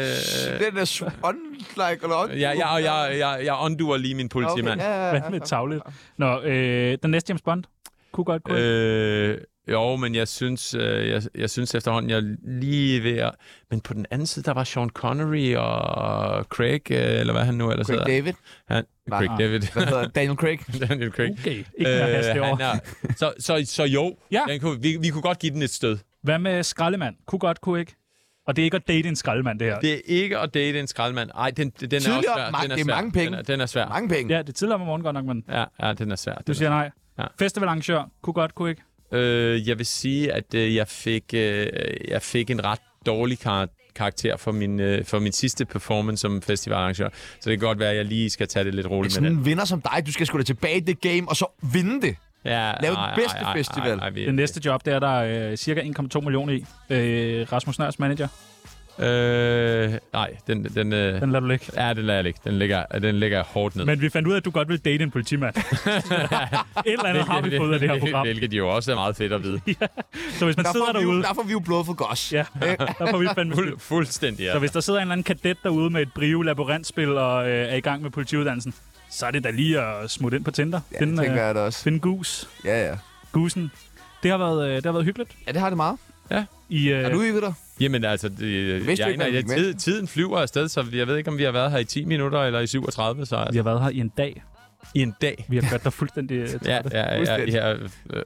[SPEAKER 1] Ah. Den er sw- unlike eller on.
[SPEAKER 4] jeg, jeg, jeg, jeg, jeg unduer lige min politimand.
[SPEAKER 1] ja, ja,
[SPEAKER 3] Hvad med tavlet? Nå, øh, den næste James Bond. Kunne godt, kunne øh,
[SPEAKER 4] Øh, jo, men jeg synes, øh, jeg, jeg synes efterhånden, jeg er lige ved at... Men på den anden side, der var Sean Connery og Craig, øh, eller hvad han nu ellers
[SPEAKER 1] Craig
[SPEAKER 3] Altså-
[SPEAKER 4] hedder.
[SPEAKER 1] David.
[SPEAKER 4] Han,
[SPEAKER 1] Nej.
[SPEAKER 4] Craig David.
[SPEAKER 1] Hvad hedder Daniel Craig?
[SPEAKER 4] Daniel Craig.
[SPEAKER 3] Okay, ikke øh, has det over.
[SPEAKER 4] han er, så, så, så jo,
[SPEAKER 3] Ja.
[SPEAKER 4] den kunne, vi, vi kunne godt give den et stød.
[SPEAKER 3] Hvad med skraldemand? Kunne godt, kunne ikke. Og det er ikke at date en skraldemand, det her. Det...
[SPEAKER 4] Det er ikke at date en skraldemand. Ej, den, den er
[SPEAKER 1] Tidligere,
[SPEAKER 4] også svær.
[SPEAKER 1] mange-
[SPEAKER 4] den er
[SPEAKER 1] det er
[SPEAKER 4] svær.
[SPEAKER 1] mange penge.
[SPEAKER 4] Den er, den er svær.
[SPEAKER 1] Mange penge.
[SPEAKER 3] Ja, det er tidligere om morgenen godt nok, men
[SPEAKER 4] Ja, ja, den er svær.
[SPEAKER 3] du
[SPEAKER 4] Den
[SPEAKER 3] siger nej.
[SPEAKER 4] Ja.
[SPEAKER 3] Ja. Festivalarrangør. Kunne godt, kunne ikke.
[SPEAKER 4] er. Øh, jeg vil sige, at øh, jeg, fik, øh, jeg fik en ret dårlig kar- karakter for min, øh, for min sidste performance som festivalarrangør. Så det kan godt være, at jeg lige skal tage det lidt roligt med
[SPEAKER 1] Sådan
[SPEAKER 4] den.
[SPEAKER 1] en vinder som dig, du skal sgu da tilbage i det game, og så vinde det.
[SPEAKER 4] Ja,
[SPEAKER 1] Lav den
[SPEAKER 4] ej,
[SPEAKER 1] bedste
[SPEAKER 4] ej, ej,
[SPEAKER 1] festival.
[SPEAKER 4] ej, vi-
[SPEAKER 3] Den næste job, det er der er, øh, cirka 1,2 millioner i. Øh, Rasmus Nørs manager.
[SPEAKER 4] Øh, nej, den, den, øh,
[SPEAKER 3] Den lader du ligge.
[SPEAKER 4] ja, den lader jeg ikke. Den ligger, den ligger hårdt ned.
[SPEAKER 3] Men vi fandt ud af, at du godt vil date en politimand. Et eller andet har vi fået af det her program.
[SPEAKER 4] Hvilket jo også er meget fedt at vide.
[SPEAKER 3] Så hvis man
[SPEAKER 1] Der
[SPEAKER 3] sidder
[SPEAKER 1] får, vi jo,
[SPEAKER 3] derude...
[SPEAKER 1] der får vi jo blod for gos.
[SPEAKER 3] Ja, der får vi fandme skyld.
[SPEAKER 4] Fuld, fuldstændig, ja.
[SPEAKER 3] Så hvis der sidder en eller anden kadet derude med et brive labyrintspil og øh, er i gang med politiuddannelsen, så er det da lige at smutte ind på Tinder.
[SPEAKER 1] Ja, det tænker jeg da også.
[SPEAKER 3] Finde gus.
[SPEAKER 1] Ja, ja.
[SPEAKER 3] Gusen. Det har været, øh, det har været hyggeligt.
[SPEAKER 1] Ja, det har det meget.
[SPEAKER 3] I, øh,
[SPEAKER 1] Har du hygget dig?
[SPEAKER 4] Jamen altså, det,
[SPEAKER 1] Vidste
[SPEAKER 4] jeg,
[SPEAKER 1] du ikke,
[SPEAKER 4] ikke,
[SPEAKER 1] man
[SPEAKER 4] jeg,
[SPEAKER 1] gik med?
[SPEAKER 4] tid, tiden flyver afsted, så jeg ved ikke, om vi har været her i 10 minutter eller i 37, så
[SPEAKER 3] Vi
[SPEAKER 4] altså,
[SPEAKER 3] har været her i en dag.
[SPEAKER 4] i en dag.
[SPEAKER 3] Vi har gjort dig fuldstændig øh,
[SPEAKER 4] Ja,
[SPEAKER 3] trætte.
[SPEAKER 4] ja, ja,
[SPEAKER 1] Fuldstændig.
[SPEAKER 4] ja, øh, øh,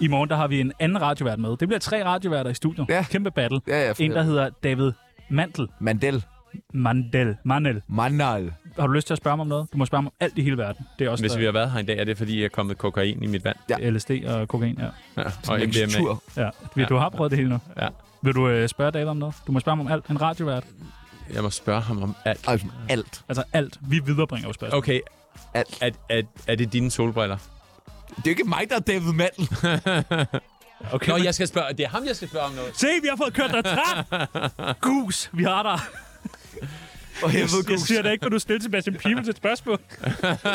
[SPEAKER 3] I morgen der har vi en anden radiovært med. Det bliver tre radioværter i studiet.
[SPEAKER 1] Ja.
[SPEAKER 3] Kæmpe battle.
[SPEAKER 1] Ja, ja. for
[SPEAKER 3] En, der hedder David Mantel.
[SPEAKER 1] Mandel.
[SPEAKER 3] Mandel. Manel.
[SPEAKER 1] Mandal.
[SPEAKER 3] Har du lyst til at spørge mig om noget? Du må spørge mig om alt i hele verden. Det er også øh,
[SPEAKER 4] hvis vi
[SPEAKER 3] der,
[SPEAKER 4] har været her i dag, er det fordi, jeg er kommet kokain i mit vand.
[SPEAKER 1] har-
[SPEAKER 3] LSD og kokain. Ja.
[SPEAKER 4] Ja, og
[SPEAKER 1] Og en
[SPEAKER 4] MDMA.
[SPEAKER 1] tur.
[SPEAKER 3] ja. Vi- Du har prøvet det hele nu.
[SPEAKER 4] Ja.
[SPEAKER 3] Vil du øh, spørge David om noget? Du må spørge ham om alt. En radiovært.
[SPEAKER 4] Jeg må spørge ham om alt.
[SPEAKER 1] Altså, alt.
[SPEAKER 3] Altså alt. Vi viderebringer jo spørgsmål.
[SPEAKER 4] Okay,
[SPEAKER 1] Alt.
[SPEAKER 4] er, er, er det dine solbriller?
[SPEAKER 1] Det er jo ikke mig, der er David Mandel.
[SPEAKER 3] Okay. okay
[SPEAKER 4] Nå,
[SPEAKER 3] men-
[SPEAKER 4] jeg skal spørge. Det er ham, jeg skal spørge om noget.
[SPEAKER 3] Se, vi har fået kørt dig træt! Gus, vi har dig.
[SPEAKER 1] Og helvede
[SPEAKER 3] Jeg
[SPEAKER 1] gus.
[SPEAKER 3] siger da ikke, når du stiller Sebastian Pibel til et spørgsmål.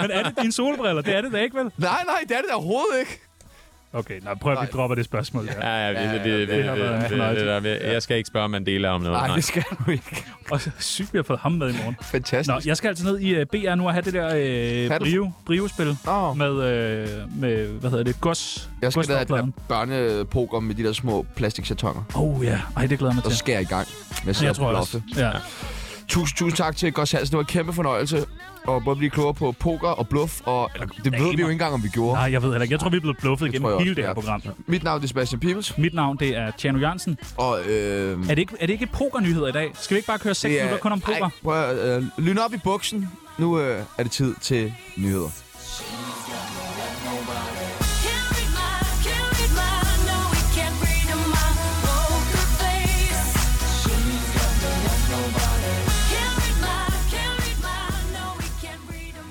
[SPEAKER 3] Men er det dine solbriller? Det er det da ikke, vel?
[SPEAKER 1] Nej, nej, det er det da overhovedet ikke.
[SPEAKER 3] Okay, nej, prøv at vi dropper det spørgsmål. Ja.
[SPEAKER 4] Ja, ja, det, det, det,
[SPEAKER 3] det har været
[SPEAKER 4] det, det,
[SPEAKER 3] fornøjelse.
[SPEAKER 4] det, det, det, jeg skal ikke spørge Mandela om noget.
[SPEAKER 1] Nej,
[SPEAKER 4] Nej.
[SPEAKER 1] det skal du ikke.
[SPEAKER 3] Og så sygt, vi har fået ham med i morgen.
[SPEAKER 1] Fantastisk.
[SPEAKER 3] Nå, jeg skal altså ned i uh, BR nu og have det der uh,
[SPEAKER 1] Paddle.
[SPEAKER 3] brio, brio-spil
[SPEAKER 1] Nå,
[SPEAKER 3] med, uh, med, hvad hedder det, gods.
[SPEAKER 1] jeg skal da have det der
[SPEAKER 3] godsnummerpladen.
[SPEAKER 1] børnepoker med de der små plastiksatonger.
[SPEAKER 3] Oh ja, ej, det glæder jeg mig
[SPEAKER 1] Så
[SPEAKER 3] til.
[SPEAKER 1] skal jeg i gang med at sidde
[SPEAKER 3] Jeg tror
[SPEAKER 1] og
[SPEAKER 3] jeg
[SPEAKER 1] bluffe.
[SPEAKER 3] også. Ja.
[SPEAKER 1] Tusind, tusind tak til Gos Hansen. Det var en kæmpe fornøjelse at både blive klogere på poker og bluff. Og, eller, det ved vi jo ikke engang, om vi gjorde.
[SPEAKER 3] Nej, jeg ved heller ikke. Jeg tror, vi er blevet bluffet
[SPEAKER 1] tror jeg
[SPEAKER 3] igennem
[SPEAKER 1] også,
[SPEAKER 3] hele det her
[SPEAKER 1] ja.
[SPEAKER 3] program.
[SPEAKER 1] Mit navn er Sebastian Pibels,
[SPEAKER 3] Mit navn, det er Tjerno Jørgensen.
[SPEAKER 1] og øh,
[SPEAKER 3] Er det ikke, er det ikke pokernyheder i dag? Skal vi ikke bare køre 6
[SPEAKER 1] det er...
[SPEAKER 3] minutter kun om poker?
[SPEAKER 1] Ej, prøv at, øh, lyn op i buksen. Nu øh, er det tid til nyheder.